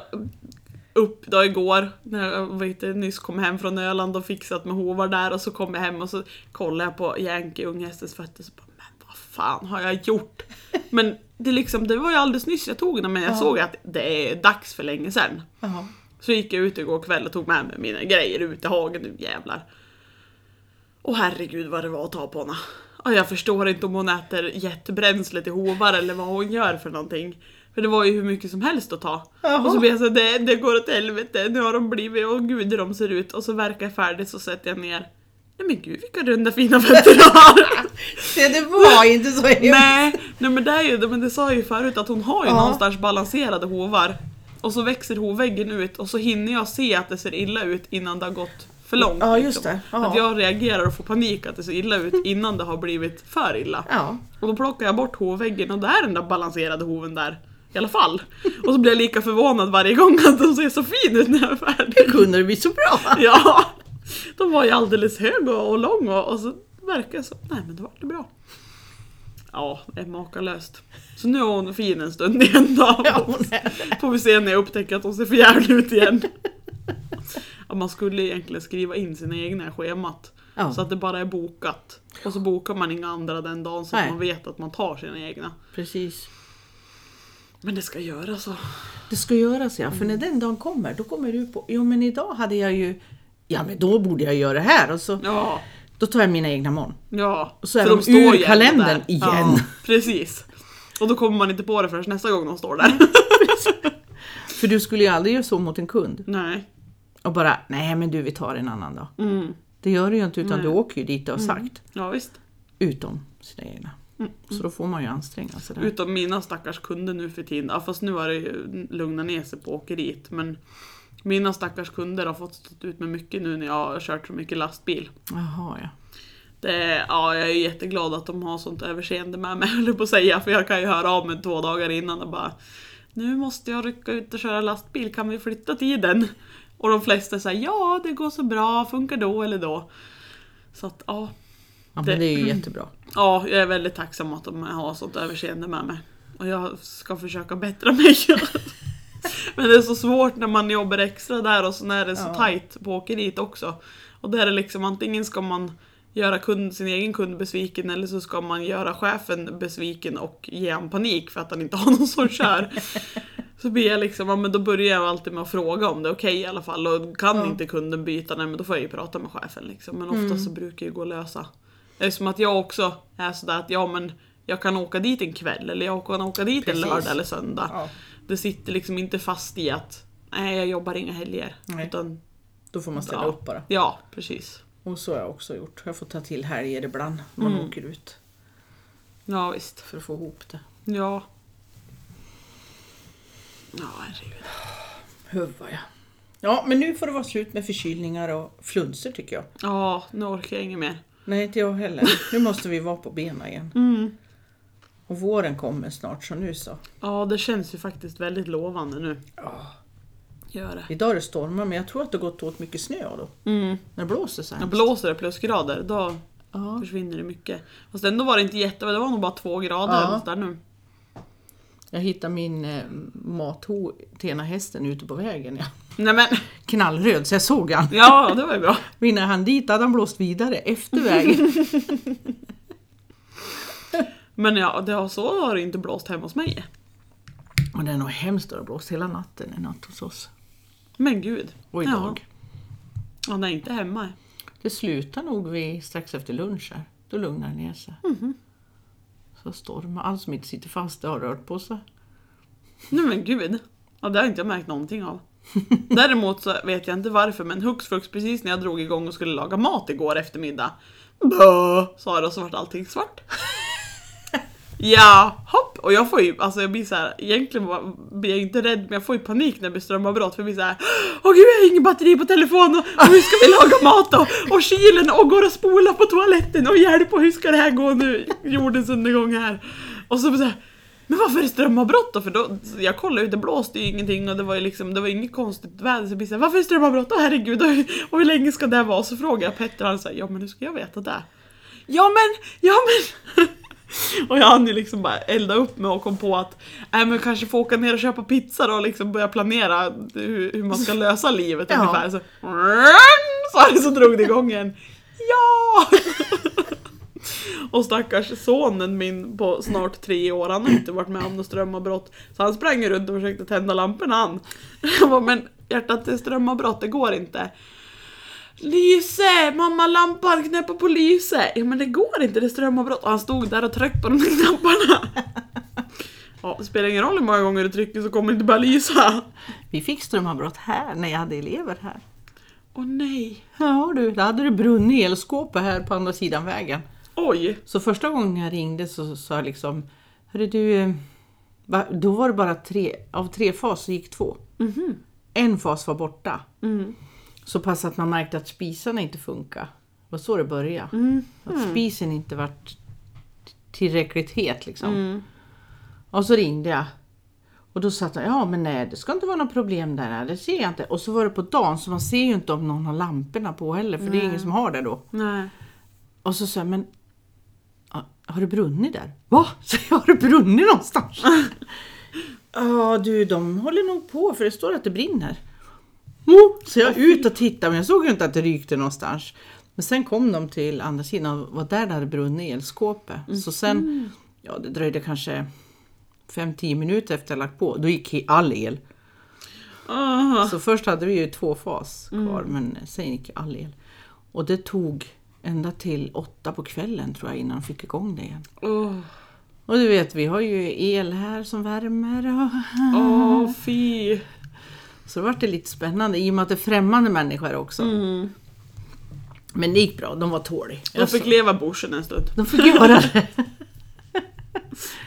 Speaker 2: upp då igår när jag vad heter det, nyss kom hem från Öland och fixat med hovar där och så kom jag hem och så kollade jag på Yankee unghästens fötter så bara men vad fan har jag gjort? Men det, liksom, det var ju alldeles nyss jag tog den men jag
Speaker 1: Ja.
Speaker 2: såg att det är dags för länge sedan.
Speaker 1: Jaha.
Speaker 2: Så gick jag ut igår kväll och tog med mig mina grejer ut i hagen nu jävlar. Och herregud vad det var att ta på henne. Ja, jag förstår inte om hon äter jättebränsle till hovar eller vad hon gör för någonting. För det var ju hur mycket som helst att ta.
Speaker 1: Jaha.
Speaker 2: Och så blir jag så det, det går åt helvete, nu har de blivit, och gud hur de ser ut. Och så verkar jag färdig så sätter jag ner. Nej men gud vilka runda fina fötter du har!
Speaker 1: Se, det var inte så hemskt.
Speaker 2: nej, nej men det är ju, men det sa jag ju förut att hon har ju
Speaker 1: Ja.
Speaker 2: någonstans balanserade hovar. Och så växer hovväggen ut och så hinner jag se att det ser illa ut innan det har gått för långt. liksom.
Speaker 1: Ja, just det. Ja.
Speaker 2: Att jag reagerar och får panik att det ser
Speaker 1: *laughs*
Speaker 2: illa ut innan det har blivit för illa.
Speaker 1: Ja.
Speaker 2: Och då plockar jag bort hovväggen och det är den där balanserade hoven där. I alla fall. Och så blir jag lika förvånad varje gång att de ser så fin ut när jag är färdig.
Speaker 1: Hur kunde det bli så *laughs* bra?
Speaker 2: *laughs* Ja! De var ju alldeles hög och, och lång och, och så verkar det så. Nej men det var det bra. Ja, det är makalöst. Så nu är hon fin en stund igen då.
Speaker 1: *laughs* Ja, hon är det.
Speaker 2: Får vi se när jag upptäcker att hon ser för jävligt ut igen. Ja, man skulle egentligen skriva in sina egna i schemat.
Speaker 1: Ja.
Speaker 2: Så att det bara är bokat. Och så bokar man inga andra den dagen så att
Speaker 1: Nej.
Speaker 2: man vet att man tar sina egna.
Speaker 1: Precis.
Speaker 2: Men det ska göras så.
Speaker 1: Det ska göras ja, för när den dagen kommer då kommer du på, jo men idag hade jag ju, ja men då borde jag göra det här och så,
Speaker 2: Ja,
Speaker 1: då tar jag mina egna *laughs* morgon.
Speaker 2: Ja,
Speaker 1: Och så är
Speaker 2: för
Speaker 1: de
Speaker 2: står
Speaker 1: ur
Speaker 2: jämt
Speaker 1: kalendern
Speaker 2: där.
Speaker 1: igen.
Speaker 2: Ja, *laughs* precis. Och då kommer man inte på det förrän nästa gång de står
Speaker 1: *laughs*
Speaker 2: där.
Speaker 1: För du skulle ju aldrig göra så mot en kund
Speaker 2: Nej.
Speaker 1: och bara, nej men du vi tar en annan dag.
Speaker 2: Mm.
Speaker 1: Det gör du ju inte utan
Speaker 2: Nej.
Speaker 1: du åker ju dit och har sagt,
Speaker 2: Ja, visst.
Speaker 1: utom sina egna. Så då får man ju anstränga sig där.
Speaker 2: Utom mina stackars kunder nu för tiden. Ja, fast nu har det ju lugnat ner sig på åkeriet. Men mina stackars kunder har fått stå ut med mycket nu när jag har kört så mycket lastbil.
Speaker 1: Jaha ja.
Speaker 2: Det, ja, jag är jätteglad att de har sånt överseende med mig, *laughs* höll jag på att säga. För jag kan ju höra av mig två dagar innan och bara Nu måste jag rycka ut och köra lastbil, kan vi flytta tiden? Och de flesta säger ja, det går så bra, funkar då eller då. Så att ja,
Speaker 1: Ja
Speaker 2: Det-
Speaker 1: men det är ju jättebra.
Speaker 2: ja jag är väldigt tacksam att de har sånt överseende med mig. Och jag ska försöka bättra mig. *laughs* Men det är så svårt när man jobbar extra där och sen är det så
Speaker 1: Ja.
Speaker 2: tajt på åkeriet också. Och där är det liksom antingen ska man göra kund, sin egen kund besviken eller så ska man göra chefen besviken och ge han panik för att han inte har någon som kör. Så blir jag liksom, ja, men då börjar jag alltid med att fråga om det är okej i alla fall. Och kan
Speaker 1: Ja. Mm.
Speaker 2: inte kunden byta, nej men då får jag ju prata med chefen liksom. Men oftast så brukar det gå att lösa. Det är som att jag också är sådär att ja men jag kan åka dit en kväll eller jag kan åka dit
Speaker 1: Precis.
Speaker 2: en lördag eller söndag.
Speaker 1: Ja,
Speaker 2: Det sitter liksom inte fast i att nej jag jobbar inga helger.
Speaker 1: Nej.
Speaker 2: Utan,
Speaker 1: då får man ställa
Speaker 2: Ja.
Speaker 1: upp bara.
Speaker 2: ja precis.
Speaker 1: Och så har jag också gjort. Jag får ta till helger ibland. Man åker ut
Speaker 2: Ja visst.
Speaker 1: för att få ihop det.
Speaker 2: Ja. Ja herregud.
Speaker 1: Huva ja. Ja, men nu får det vara slut med förkylningar och flunser tycker jag.
Speaker 2: Ja nu orkar jag inget mer.
Speaker 1: Nej, inte jag heller. Nu måste vi vara på benen igen.
Speaker 2: Mm.
Speaker 1: Och våren kommer snart, så nu så.
Speaker 2: Ja det känns ju faktiskt väldigt lovande nu.
Speaker 1: Ja.
Speaker 2: Gör det.
Speaker 1: Idag är det stormar, men jag tror att det gått åt mycket snö då.
Speaker 2: Mm.
Speaker 1: När det blåser så här.
Speaker 2: Ja, blåser det plusgrader då
Speaker 1: Ja.
Speaker 2: försvinner det mycket. Fast ändå var det inte jätte, det var nog bara två grader
Speaker 1: Ja.
Speaker 2: eller något där nu.
Speaker 1: Jag hittade min eh, matho, Tena hästen, ute på vägen. Ja.
Speaker 2: Nej men, *laughs*
Speaker 1: Knallröd, så jag såg han.
Speaker 2: ja det var ju bra.
Speaker 1: Men innan han dit hade han blåst vidare efter *laughs* vägen.
Speaker 2: Men ja, det har, så har det inte blåst hemma hos mig.
Speaker 1: och det är nog hemskt att det har blåst hela natten i natt hos oss.
Speaker 2: Men gud.
Speaker 1: Och idag.
Speaker 2: Ja, han är inte hemma.
Speaker 1: Det slutar nog vid strax efter lunch här. Då lugnar det ner sig. Så stormar. Allt som inte sitter fast det har rört på sig.
Speaker 2: Nej men gud. Ja, det har inte jag märkt någonting av. Däremot så vet jag inte varför men hux flux precis när jag drog igång och skulle laga mat igår eftermiddag. Bö, sa det och så vart allting svart. Ja, hopp! Och jag får ju, alltså jag blir så här, egentligen var- blir jag inte rädd men jag får ju panik när det blir strömavbrott för jag blir så här. Åh gud jag har ingen batteri på telefonen och hur ska vi laga mat då? Och kylen och går och spola på toaletten och hjälp och hur ska det här gå nu? Jordens undergång här. Och så blir det så här, men varför är det strömavbrott då? För då, jag kollade ju, det blåste ju ingenting och det var ju liksom, det var inget konstigt väder så jag blir så här, varför är det strömavbrott då? Herregud, och, och hur länge ska det här vara? Så frågade jag Petter och han sa ja men hur ska jag veta det? Ja men, ja men! Och jag hann ju liksom bara elda upp mig och kom på att äh, men kanske få åka ner och köpa pizza då och liksom börja planera hur, hur man ska lösa livet
Speaker 1: Ja.
Speaker 2: ungefär. Så, så, så, så drog det igång en Ja! Och stackars sonen min på snart tre år, han har inte varit med om något strömavbrott. Så han sprang ju runt och försökte tända lamporna han. Jag bara, men hjärtat det är strömavbrott, det går inte. Lyse! Mamma lampan knäpper på lyse! Ja men det går inte, det är strömavbrott. Och han stod där och tryckte på de där knapparna. Ja, det spelar ingen roll hur många gånger du trycker så kommer det inte bara lysa.
Speaker 1: Vi fick strömavbrott här när jag hade elever här.
Speaker 2: Åh nej.
Speaker 1: Ja du, då hade det brunnit i elskåpet här på andra sidan vägen.
Speaker 2: Oj.
Speaker 1: Så första gången jag ringde så sa jag liksom, hörru du, eh, va- då var det bara tre, av tre fas så gick två. En fas var borta. Så pass att man märkte att spisarna inte funkar. Det var så det började. Att spisen inte vart tillräckligt het liksom. Och så ringde jag. Och då satt han, ja men nej det ska inte vara några problem där, det ser jag inte. Och så var det på dagen så man ser ju inte om någon har lamporna på heller för det är ingen som har det då.
Speaker 2: Nej.
Speaker 1: Och så sa jag, men ja, har det brunnit där? Va? *laughs* Så jag, har det brunnit någonstans? *laughs* Ja du, de håller nog på för det står att det brinner. Jo, Så jag ut och tittade men jag såg ju inte att det rykte någonstans. Men sen kom de till andra sidan och var där det hade brunnit i elskåpet. Så sen, ja det dröjde kanske 5-10 minuter efter jag lagt på, då gick he- all el.
Speaker 2: Ah.
Speaker 1: Så först hade vi ju två fas kvar
Speaker 2: Mm.
Speaker 1: men sen gick all el. Och det tog ända till åtta på kvällen tror jag innan de fick igång det igen.
Speaker 2: Åh,
Speaker 1: Och du vet, vi har ju el här som värmer. och- *laughs*
Speaker 2: Åh, fy.
Speaker 1: Så det vart det lite spännande i och med att det är främmande människor också. Men det gick bra, de var tåliga. Alltså,
Speaker 2: Jag Mm. fick leva bushen en stund.
Speaker 1: de fick göra det.
Speaker 2: *laughs*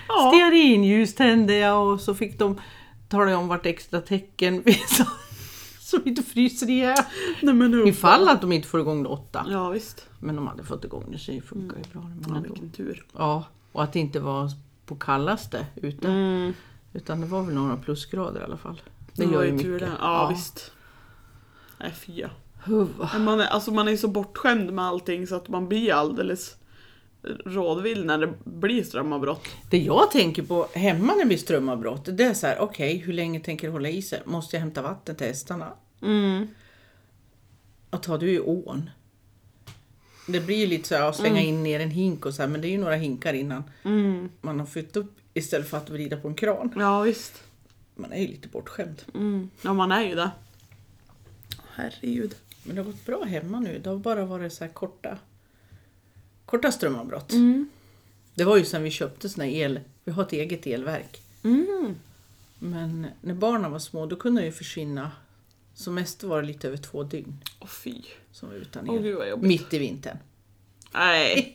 Speaker 2: Ja.
Speaker 1: Stearinljus tände jag och så fick de tala om vart extra tecken finns. *laughs* Så vi inte fryser ihjäl.
Speaker 2: Nej, men nu.
Speaker 1: Ifall att de inte får igång det åtta.
Speaker 2: Ja visst.
Speaker 1: Men de hade fått igång det så det funkar ju bra. Men
Speaker 2: Mm. Ja,
Speaker 1: ändå.
Speaker 2: vilken tur.
Speaker 1: Ja, och att det inte var på kallaste ute.
Speaker 2: Mm.
Speaker 1: Utan det var väl några plusgrader i alla fall. Mm, Det
Speaker 2: var
Speaker 1: gör ju
Speaker 2: ju
Speaker 1: mycket.
Speaker 2: tur det. Ja, ja visst. Nej fy ja.
Speaker 1: Huva.
Speaker 2: Men man är, alltså man är så bortskämd med allting så att man blir alldeles rådvill när det blir strömavbrott.
Speaker 1: Det jag tänker på hemma när det blir strömavbrott, det är så här, okej, hur länge tänker det hålla i sig? Måste jag hämta vatten till hästarna?
Speaker 2: Mm.
Speaker 1: Att ta du i ån. Det blir ju lite så här, att slänga in ner en hink och så här, men det är ju några hinkar innan
Speaker 2: Mm.
Speaker 1: man har fyllt upp istället för att vrida på en kran.
Speaker 2: Ja visst.
Speaker 1: Man är ju lite bortskämd.
Speaker 2: Mm. Ja man är ju det. Herregud.
Speaker 1: Men det har gått bra hemma nu. Det har bara varit så här korta, korta strömavbrott.
Speaker 2: Mm.
Speaker 1: Det var ju sen vi köpte såna här el, vi har ett eget elverk.
Speaker 2: Mm.
Speaker 1: Men när barnen var små då kunde de ju försvinna. Som mest var det lite över två dygn
Speaker 2: Åh fy.
Speaker 1: som var utan
Speaker 2: Åh
Speaker 1: el.
Speaker 2: gud vad jobbigt.
Speaker 1: Mitt i vintern.
Speaker 2: *laughs* Nej.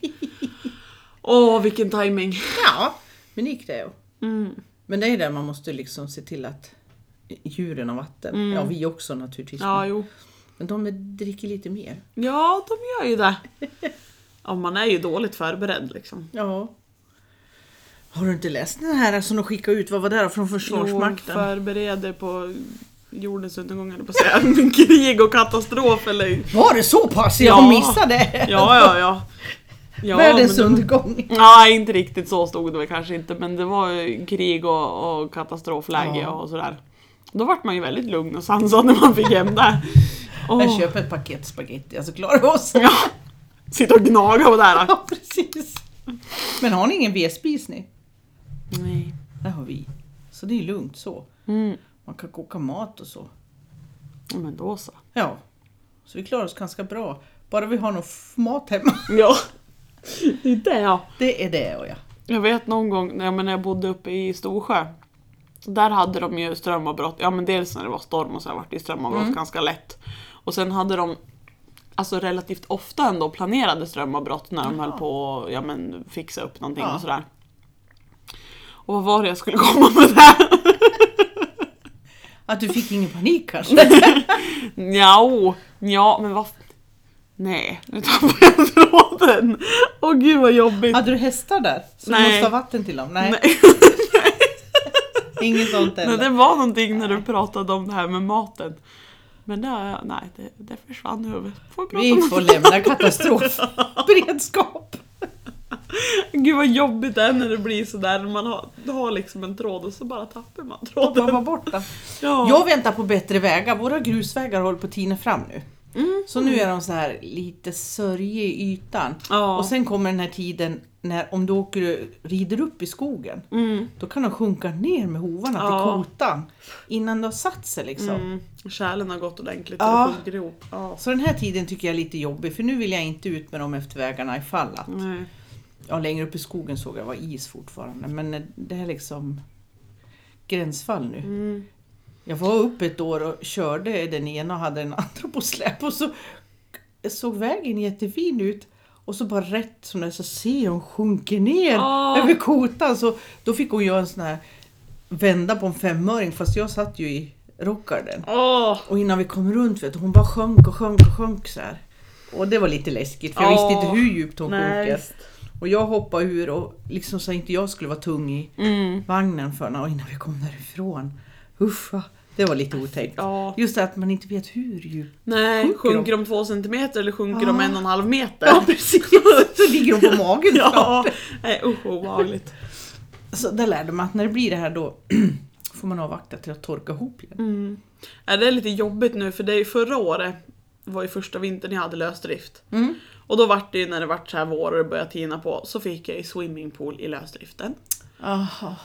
Speaker 2: Åh vilken timing.
Speaker 1: Ja, men det gick det. ju.
Speaker 2: Mm.
Speaker 1: Men det är där man måste liksom se till att djuren har vatten.
Speaker 2: Mm.
Speaker 1: Ja, vi också naturligtvis.
Speaker 2: Ja jo.
Speaker 1: Men de dricker lite mer.
Speaker 2: Ja de gör ju det. Ja man är ju dåligt förberedd liksom.
Speaker 1: Ja. Har du inte läst den här som de skickade ut? Vad var det då? Från Försvarsmakten?
Speaker 2: Jo, förbereder på jordens undergång eller på att säga. *laughs* Krig och katastrof eller...
Speaker 1: Var det så pass?
Speaker 2: Ja.
Speaker 1: Jag missade! *laughs*
Speaker 2: Ja ja ja. ja men
Speaker 1: Världens
Speaker 2: det var-
Speaker 1: undergång.
Speaker 2: Nej, inte riktigt så stod det väl kanske inte, men det var ju krig och, och katastrofläge
Speaker 1: Ja.
Speaker 2: och sådär. Då vart man ju väldigt lugn och sansad när man fick hem det.
Speaker 1: Jag
Speaker 2: Oh,
Speaker 1: köper ett paket spagetti, alltså klarar vi oss.
Speaker 2: *laughs* ja, sitta och gnaga på det här.
Speaker 1: *laughs* Ja, precis. Men har ni ingen vedspis ni?
Speaker 2: Nej.
Speaker 1: Det har vi. Så det är lugnt så.
Speaker 2: Mm.
Speaker 1: Man kan koka mat och så.
Speaker 2: Ja, Men då så.
Speaker 1: Ja. Så vi klarar oss ganska bra. Bara vi har någon f- mat hemma. *laughs*
Speaker 2: Ja. Det är det ja.
Speaker 1: Det är det och ja.
Speaker 2: Jag vet någon gång när jag, men när jag bodde uppe i Storsjö. Där hade de ju strömavbrott. Ja men dels när det var storm och så här vart det ju strömavbrott ganska lätt. Och sen hade de alltså relativt ofta ändå planerade strömavbrott när de höll på att ja, men, fixa upp någonting
Speaker 1: Ja.
Speaker 2: och sådär. Och vad var det jag skulle *laughs* komma med där?
Speaker 1: Att du fick ingen panik kanske?
Speaker 2: Njao, ja men vad... Nej, nu tappade jag *laughs* tråden. Åh gud vad
Speaker 1: *laughs*
Speaker 2: jobbigt.
Speaker 1: Hade du hästar där? Så du
Speaker 2: Nej.
Speaker 1: måste ha vatten till dem? Nej,
Speaker 2: Nej.
Speaker 1: *laughs* inget sånt
Speaker 2: Nej,
Speaker 1: heller.
Speaker 2: det var någonting när du pratade om det här med maten. Men det, nej, det, det försvann i huvudet. Får prata
Speaker 1: Vi
Speaker 2: om-
Speaker 1: får lämna katastrofberedskap.
Speaker 2: *laughs* Gud vad jobbigt det är när det blir sådär. Man har, du har liksom en tråd och så bara tappar man
Speaker 1: Och
Speaker 2: tråden.
Speaker 1: var borta.
Speaker 2: Ja.
Speaker 1: Jag väntar på bättre vägar. Våra grusvägar håller på att tina fram nu.
Speaker 2: Mm.
Speaker 1: Så nu är de så här lite sörje i ytan.
Speaker 2: Ja.
Speaker 1: Och sen kommer den här tiden när om du åker, rider upp i skogen,
Speaker 2: Mm.
Speaker 1: då kan de sjunka ner med hovarna
Speaker 2: Ja.
Speaker 1: till kotan innan de har satt sig. Liksom.
Speaker 2: Mm. Kärlen har gått ordentligt
Speaker 1: Ja.
Speaker 2: så det sjunker ihop. Ja.
Speaker 1: Så den här tiden tycker jag är lite jobbig för nu vill jag inte ut med dem efter vägarna ifall att...
Speaker 2: Nej.
Speaker 1: Ja, längre upp i skogen såg jag var is fortfarande men eh, det är liksom gränsfall nu.
Speaker 2: Mm.
Speaker 1: Jag var uppe ett år och körde den ena och hade den *laughs* andra på släp och så såg vägen jättefin ut och så bara rätt som det är så ser jag hon sjunker ner
Speaker 2: Åh.
Speaker 1: över kotan så då fick hon göra en sån här vända på en femöring fast jag satt ju i rockgarden.
Speaker 2: Åh.
Speaker 1: Och innan vi kom runt vet du, hon bara sjönk och sjönk och sjönk så här. Och det var lite läskigt för jag
Speaker 2: Åh.
Speaker 1: visste inte hur djupt hon
Speaker 2: Nej,
Speaker 1: sjunker.
Speaker 2: visst.
Speaker 1: Och jag hoppade ur och liksom så att inte jag skulle vara tung i
Speaker 2: Mm.
Speaker 1: vagnen förrän och innan vi kom därifrån. Usch, va. det var lite otäckt.
Speaker 2: Ja.
Speaker 1: Just det att man inte vet hur djupt.
Speaker 2: Nej, sjunker,
Speaker 1: Sjunker de?
Speaker 2: de två centimeter eller sjunker de
Speaker 1: Ja.
Speaker 2: en och en halv meter?
Speaker 1: *laughs* precis! Så ligger hon på magen
Speaker 2: Ja.
Speaker 1: ja.
Speaker 2: Nej usch vad obehagligt.
Speaker 1: Så där lärde man att när det blir det här då *clears throat* får man avvakta till att torka ihop igen.
Speaker 2: Mm. Ja, det är lite jobbigt nu för det är ju förra året var ju första vintern jag hade lösdrift.
Speaker 1: Mm.
Speaker 2: Och då vart det ju när det vart så här vår och det började tina på så fick jag ju swimmingpool i lösdriften.
Speaker 1: Aha.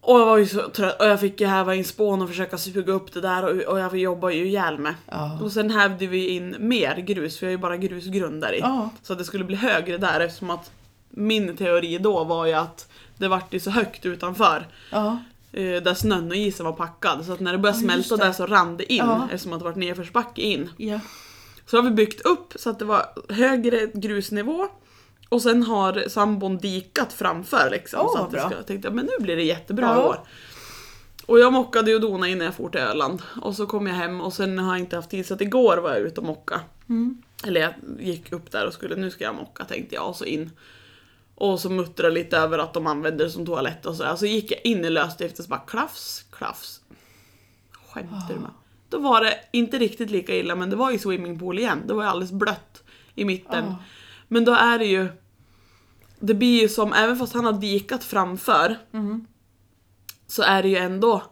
Speaker 2: Och jag var ju så trött och jag fick ju häva in spån och försöka suga upp det där och, och jag jobbade ju ihjäl mig.
Speaker 1: Ja.
Speaker 2: Och sen hävde vi in mer grus för jag har ju bara grusgrund där i.
Speaker 1: Ja.
Speaker 2: Så att det skulle bli högre där eftersom att min teori då var ju att det vart ju så högt utanför.
Speaker 1: Ja.
Speaker 2: Eh, där snön och isen var packad. Så att när det började
Speaker 1: Ja,
Speaker 2: smälta
Speaker 1: just det.
Speaker 2: där så rann det in
Speaker 1: Ja.
Speaker 2: eftersom att det var nedförsbacke in.
Speaker 1: Ja.
Speaker 2: Så har vi byggt upp så att det var högre grusnivå och sen har sambon dikat framför liksom.
Speaker 1: Åh,
Speaker 2: så att det
Speaker 1: bra.
Speaker 2: ska, jag tänkte jag, men nu blir det jättebra
Speaker 1: Ja.
Speaker 2: i år. Och jag mockade ju och donade innan jag for till Öland. Och så kom jag hem och sen har jag inte haft tid så att igår var jag ute och mocka.
Speaker 1: Mm.
Speaker 2: Eller jag gick upp där och skulle, nu ska jag mocka tänkte jag och så in. Och så muttrade lite över att de använder det som toalett och sådär. Så gick jag in i lösdrift och så bara klaffs, klaffs. Skämtar du med? Då var det inte riktigt lika illa men det var ju swimmingpool igen. Det var ju alldeles blött i mitten.
Speaker 1: Ja.
Speaker 2: Men då är det ju det blir ju som, även fast han har vikat framför
Speaker 1: mm.
Speaker 2: så är det ju ändå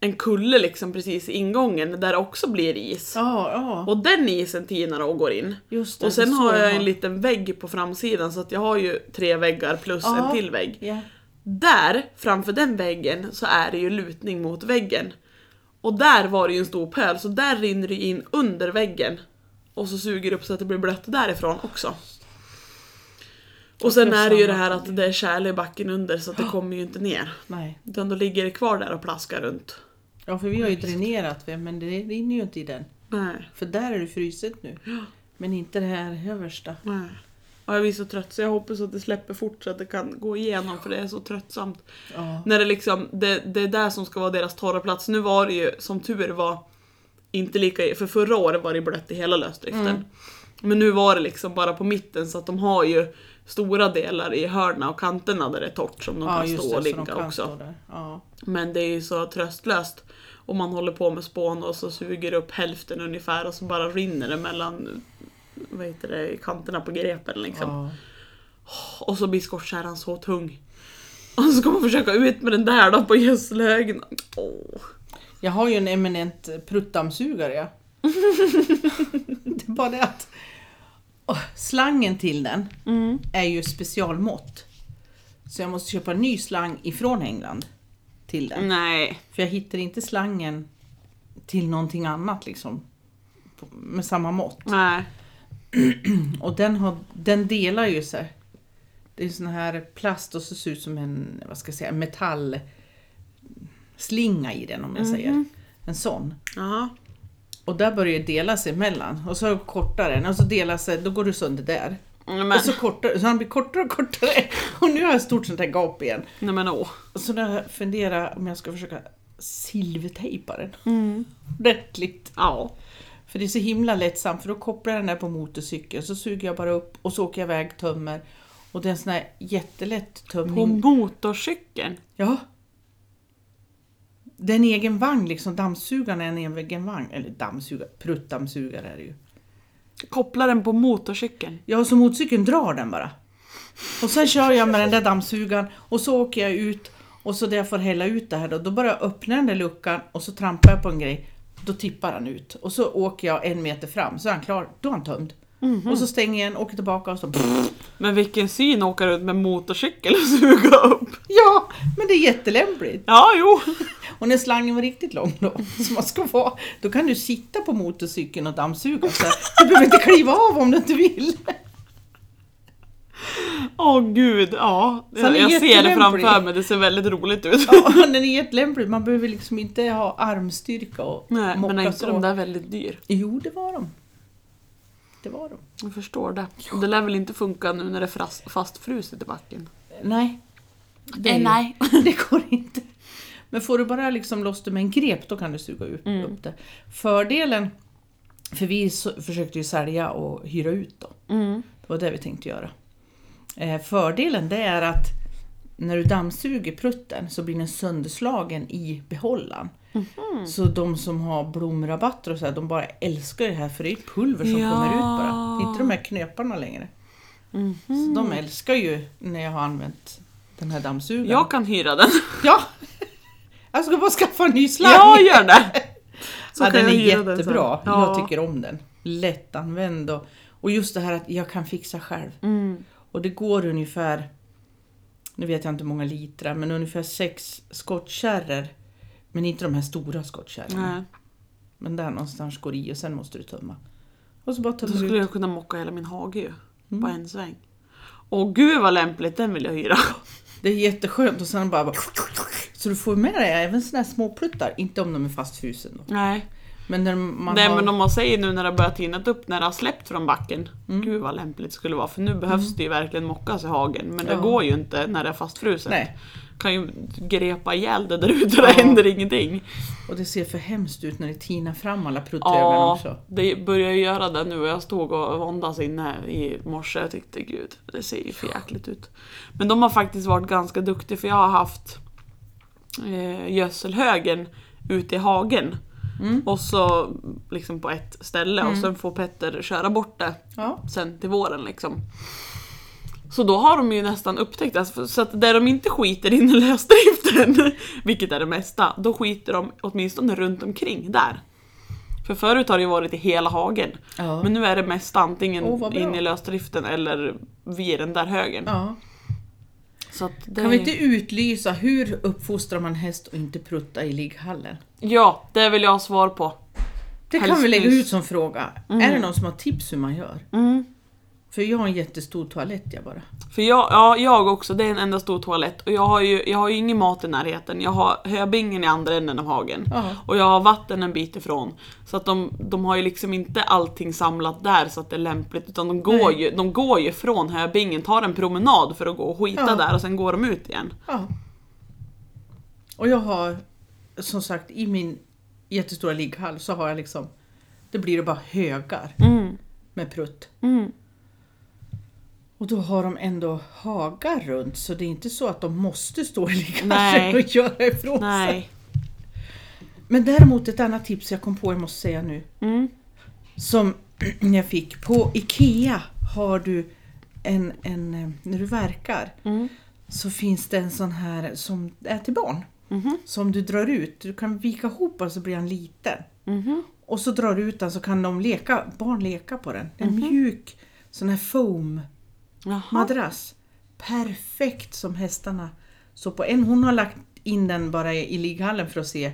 Speaker 2: en kulle liksom precis i ingången där det också blir is.
Speaker 1: Ja, ja.
Speaker 2: Och den isen tinar och går in.
Speaker 1: Just det,
Speaker 2: Och sen
Speaker 1: så
Speaker 2: har jag
Speaker 1: var-
Speaker 2: en liten vägg på framsidan så att jag har ju tre väggar plus
Speaker 1: Ja.
Speaker 2: en till vägg.
Speaker 1: Ja.
Speaker 2: Där, framför den väggen, så är det ju lutning mot väggen. Och där var det ju en stor pöl, så där rinner det ju in under väggen. Och så suger det upp så att det blir blött därifrån också. Och sen är det ju det här att det är kärl i backen under så att det kommer ju inte ner.
Speaker 1: Nej.
Speaker 2: Utan då ligger det kvar där och plaskar runt.
Speaker 1: Ja, för vi har ju dränerat men det rinner ju inte i den.
Speaker 2: Nej,
Speaker 1: För där är det fruset nu. Men inte det här översta.
Speaker 2: nej. Och jag blir så trött så jag hoppas att det släpper fort så att det kan gå igenom för det är så tröttsamt.
Speaker 1: Ja.
Speaker 2: När det liksom, det, det är där som ska vara deras torra plats. Nu var det ju, som tur var, inte lika, för förra året var det blött i hela lösdriften.
Speaker 1: Mm.
Speaker 2: Men nu var det liksom bara på mitten så att de har ju stora delar i hörna och kanterna där det är torrt som de kan
Speaker 1: just
Speaker 2: stå
Speaker 1: det,
Speaker 2: och
Speaker 1: så de kan
Speaker 2: ligga också.
Speaker 1: stå där. Ja.
Speaker 2: Men det är ju så tröstlöst. Och man håller på med spån och så suger det upp hälften ungefär och så bara rinner det mellan vad heter det, kanterna på grepen liksom.
Speaker 1: Ja.
Speaker 2: Och så blir skottkärran så tung. Och så ska man försöka ut med den där då på gödselhögen. Åh.
Speaker 1: Jag har ju en eminent pruttdammsugare.
Speaker 2: *laughs*
Speaker 1: Ja. det är bara det att Åh, slangen till den
Speaker 2: Mm.
Speaker 1: är ju specialmått. Så jag måste köpa en ny slang ifrån England till
Speaker 2: Mm.
Speaker 1: den.
Speaker 2: Nej.
Speaker 1: För jag hittar inte slangen till någonting annat liksom. på- Med samma mått.
Speaker 2: Nej.
Speaker 1: Och den, har, den delar ju sig. Det är sån här plast och så ser det ut som en vad ska jag säga, metallslinga i den om jag säger. En sån.
Speaker 2: Jaha.
Speaker 1: Och där börjar det dela sig emellan. Och så kortar den och så delar sig, då går det sönder där.
Speaker 2: Nej men,
Speaker 1: Och så, kortare, så han blir kortare och kortare. *laughs* Och nu har jag ett stort sånt här gap igen.
Speaker 2: nej men åh.
Speaker 1: Och så när jag funderar om jag ska försöka silvertejpa den. Ordentligt.
Speaker 2: Ja.
Speaker 1: För det är så himla lättsamt för då kopplar jag den där på motorcykeln så suger jag bara upp och så åker jag iväg tömmer. Och det är en sån här jättelätt
Speaker 2: På
Speaker 1: tömning.
Speaker 2: motorcykeln.
Speaker 1: Ja. Det är en egen vagn liksom, dammsugaren är en egen vagn. Eller dammsugare, pruttdammsugare är det ju.
Speaker 2: Koppla den på motorcykeln.
Speaker 1: Ja, så motorcykeln drar den bara. Och sen kör jag med den där dammsugaren och så åker jag ut och så där jag får hälla ut det här då, då börjar jag öppna den där luckan och så trampar jag på en grej. Då tippar han ut och så åker jag en meter fram så är han klar, då är han tömd. Och så stänger jag igen, åker tillbaka och så...
Speaker 2: Men vilken syn att åka runt med motorcykel och suga upp.
Speaker 1: Ja, men det är jättelämpligt.
Speaker 2: Ja, jo.
Speaker 1: Och när slangen var riktigt lång då, som man ska vara, då kan du sitta på motorcykeln och dammsuga. Så här. Du behöver inte kliva av om du inte vill.
Speaker 2: Åh gud, ja.
Speaker 1: Så han är
Speaker 2: Jag, jag ser det
Speaker 1: jättelämplig.
Speaker 2: framför mig, det ser väldigt roligt ut.
Speaker 1: Ja, *laughs* den är jättelämplig. Man behöver liksom inte ha armstyrka och
Speaker 2: Nej, men är
Speaker 1: mocka
Speaker 2: inte
Speaker 1: så.
Speaker 2: de där väldigt dyr?
Speaker 1: Jo, det var de. Det var de.
Speaker 2: Jag förstår det. Och Det lär väl inte funka nu när det är fras- fastfruset i backen?
Speaker 1: Nej.
Speaker 2: Eh,
Speaker 1: Det, är ju- Eh, det går inte. Men får du bara liksom loss det med en grep, då kan du suga upp, upp det. Fördelen, för vi så, försökte ju sälja och hyra ut då.
Speaker 2: Mm.
Speaker 1: Det var det vi tänkte göra. Eh, fördelen det är att när du dammsuger prutten så blir den sönderslagen i behållaren. Så de som har blomrabatter och så här, de bara älskar det här för det är pulver som
Speaker 2: Ja.
Speaker 1: kommer ut bara. Det är inte de här knöparna längre. Så de älskar ju när jag har använt den här dammsugaren.
Speaker 2: Jag kan hyra den.
Speaker 1: Ja! Jag ska bara skaffa en ny slang!
Speaker 2: Jag gör det!
Speaker 1: *laughs* ja, den är
Speaker 2: hyra sen.
Speaker 1: jättebra.
Speaker 2: Ja.
Speaker 1: Jag tycker om den. Lättanvänd och, och just det här att jag kan fixa själv.
Speaker 2: Mm.
Speaker 1: Och det går ungefär, nu vet jag inte hur många litrar, men ungefär sex skottkärror. Men inte de här stora skottkärrorna.
Speaker 2: Nej.
Speaker 1: Men där någonstans går det i och sen måste du tömma. Och så bara
Speaker 2: Då
Speaker 1: tömmer du
Speaker 2: skulle
Speaker 1: ut.
Speaker 2: jag kunna mocka hela min hage ju. På en sväng. Åh gud vad lämpligt, den vill jag hyra.
Speaker 1: Det är jätteskönt och sen bara, bara så du får med dig även såna här små pluttar, inte om de är fastfrusen då.
Speaker 2: Nej,
Speaker 1: Men när man
Speaker 2: Nej
Speaker 1: har...
Speaker 2: men om man säger nu när det har börjat tinat upp, när det har släppt från backen. Gud vad lämpligt det skulle vara, för nu behövs det ju verkligen mockas i hagen. Men det
Speaker 1: Ja.
Speaker 2: går ju inte när det är fastfruset.
Speaker 1: Nej.
Speaker 2: Kan ju grepa ihjäl det där ute, det händer ingenting.
Speaker 1: Och det ser för hemskt ut när det tinar fram alla pruttögon
Speaker 2: Ja,
Speaker 1: också.
Speaker 2: det börjar ju göra det nu och jag stod och våndades inne i morse och tyckte gud, det ser ju för jäkligt ut. Men de har faktiskt varit ganska duktiga för jag har haft eh, gödselhögen ute i hagen. Och så liksom på ett ställe och sen får Petter köra bort det
Speaker 1: Ja.
Speaker 2: sen till våren liksom. Så då har de ju nästan upptäckt, alltså, för- så att där de inte skiter in i *laughs* lösdriften, vilket är det mesta, då skiter de åtminstone runt omkring där. För förut har det ju varit i hela hagen.
Speaker 1: Ja.
Speaker 2: Men nu är det mest antingen
Speaker 1: Åh, vad bra.
Speaker 2: in i lösdriften eller vid den där högen.
Speaker 1: Ja.
Speaker 2: Så att det...
Speaker 1: Kan vi inte utlysa hur uppfostrar man häst och inte prutta i ligghallen?
Speaker 2: Ja, det vill jag ha svar på.
Speaker 1: Det kan
Speaker 2: Helst
Speaker 1: vi lägga
Speaker 2: nyss.
Speaker 1: ut som fråga.
Speaker 2: Mm.
Speaker 1: Är det någon som har tips hur man gör? För jag har en jättestor toalett jag bara.
Speaker 2: För jag, ja, jag också, det är en enda stor toalett och jag har ju, jag har ju ingen mat i närheten. Jag har höbingen i andra änden av hagen.
Speaker 1: Ja.
Speaker 2: Och jag har vatten en bit ifrån. Så att de, de har ju liksom inte allting samlat där så att det är lämpligt. Utan de går,
Speaker 1: Nej.
Speaker 2: ju, de går ju från höbingen, tar en promenad för att gå och skita
Speaker 1: Ja.
Speaker 2: där och sen går de ut igen.
Speaker 1: Ja. Och jag har som sagt i min jättestora ligghall så har jag liksom Det blir det bara högar med prutt. Och då har de ändå hagar runt så det är inte så att de måste stå i ligghallen *laughs*
Speaker 2: Nej.
Speaker 1: och göra ifrån sig.
Speaker 2: Nej.
Speaker 1: Men däremot ett annat tips jag kom på, jag måste säga nu.
Speaker 2: Mm.
Speaker 1: Som *clears throat* jag fick. På IKEA har du en, en eh, när du verkar
Speaker 2: Mm.
Speaker 1: så finns det en sån här som är till barn.
Speaker 2: Mhm.
Speaker 1: Som du drar ut. Du kan vika ihop den så blir han liten.
Speaker 2: Mhm.
Speaker 1: Och så drar du ut den så kan de leka, barn leka på den. Det är En
Speaker 2: Mhm.
Speaker 1: mjuk sån här foam-madrass.
Speaker 2: Jaha.
Speaker 1: Perfekt som hästarna så på en. Hon har lagt in den bara i i ligghallen för att se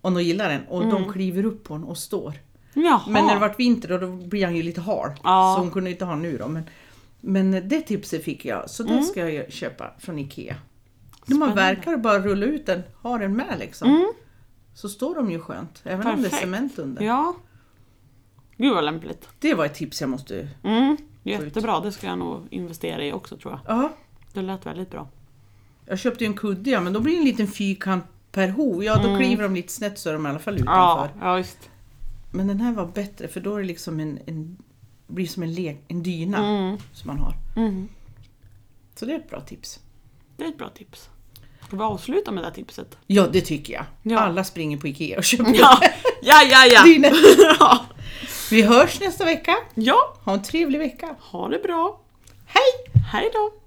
Speaker 1: om de gillar den. Och de kliver upp på den och står.
Speaker 2: Mm. Jaha.
Speaker 1: Men när det vart vinter då, då blir han ju lite hal.
Speaker 2: Ja.
Speaker 1: Så hon kunde inte ha nu då. Men, men det tipset fick jag. Så det ska jag ju köpa från IKEA. När man
Speaker 2: Mm. Spännande. Mm.
Speaker 1: verkar och bara rulla ut den, ha den med liksom. Så står de ju skönt, även om det är
Speaker 2: Perfekt.
Speaker 1: cement under.
Speaker 2: Ja. Gud vad lämpligt.
Speaker 1: Det var ett tips jag måste...
Speaker 2: Mm. Jättebra, det ska jag nog investera i också tror jag.
Speaker 1: Ja,
Speaker 2: Det lät väldigt bra.
Speaker 1: jag köpte ju en kudde ja, men då blir det en liten fyrkant per hov. Ja, då kliver de lite snett så är de i alla fall utanför.
Speaker 2: Mm. Ja, ja just.
Speaker 1: Men den här var bättre för då är det liksom en... en blir som en, le- en dyna
Speaker 2: Mm.
Speaker 1: som man har.
Speaker 2: Mm.
Speaker 1: Så det är ett bra tips.
Speaker 2: Det är ett bra tips. Ska vi avsluta med det här tipset?
Speaker 1: Ja, det tycker jag.
Speaker 2: Ja.
Speaker 1: Alla springer på IKEA
Speaker 2: *laughs*
Speaker 1: och köper
Speaker 2: Ja, ja, ja! ja.
Speaker 1: dyna.
Speaker 2: ja. *laughs*
Speaker 1: Vi hörs nästa vecka.
Speaker 2: ja.
Speaker 1: Ha en trevlig vecka.
Speaker 2: ha det bra.
Speaker 1: Hej!
Speaker 2: Hej då!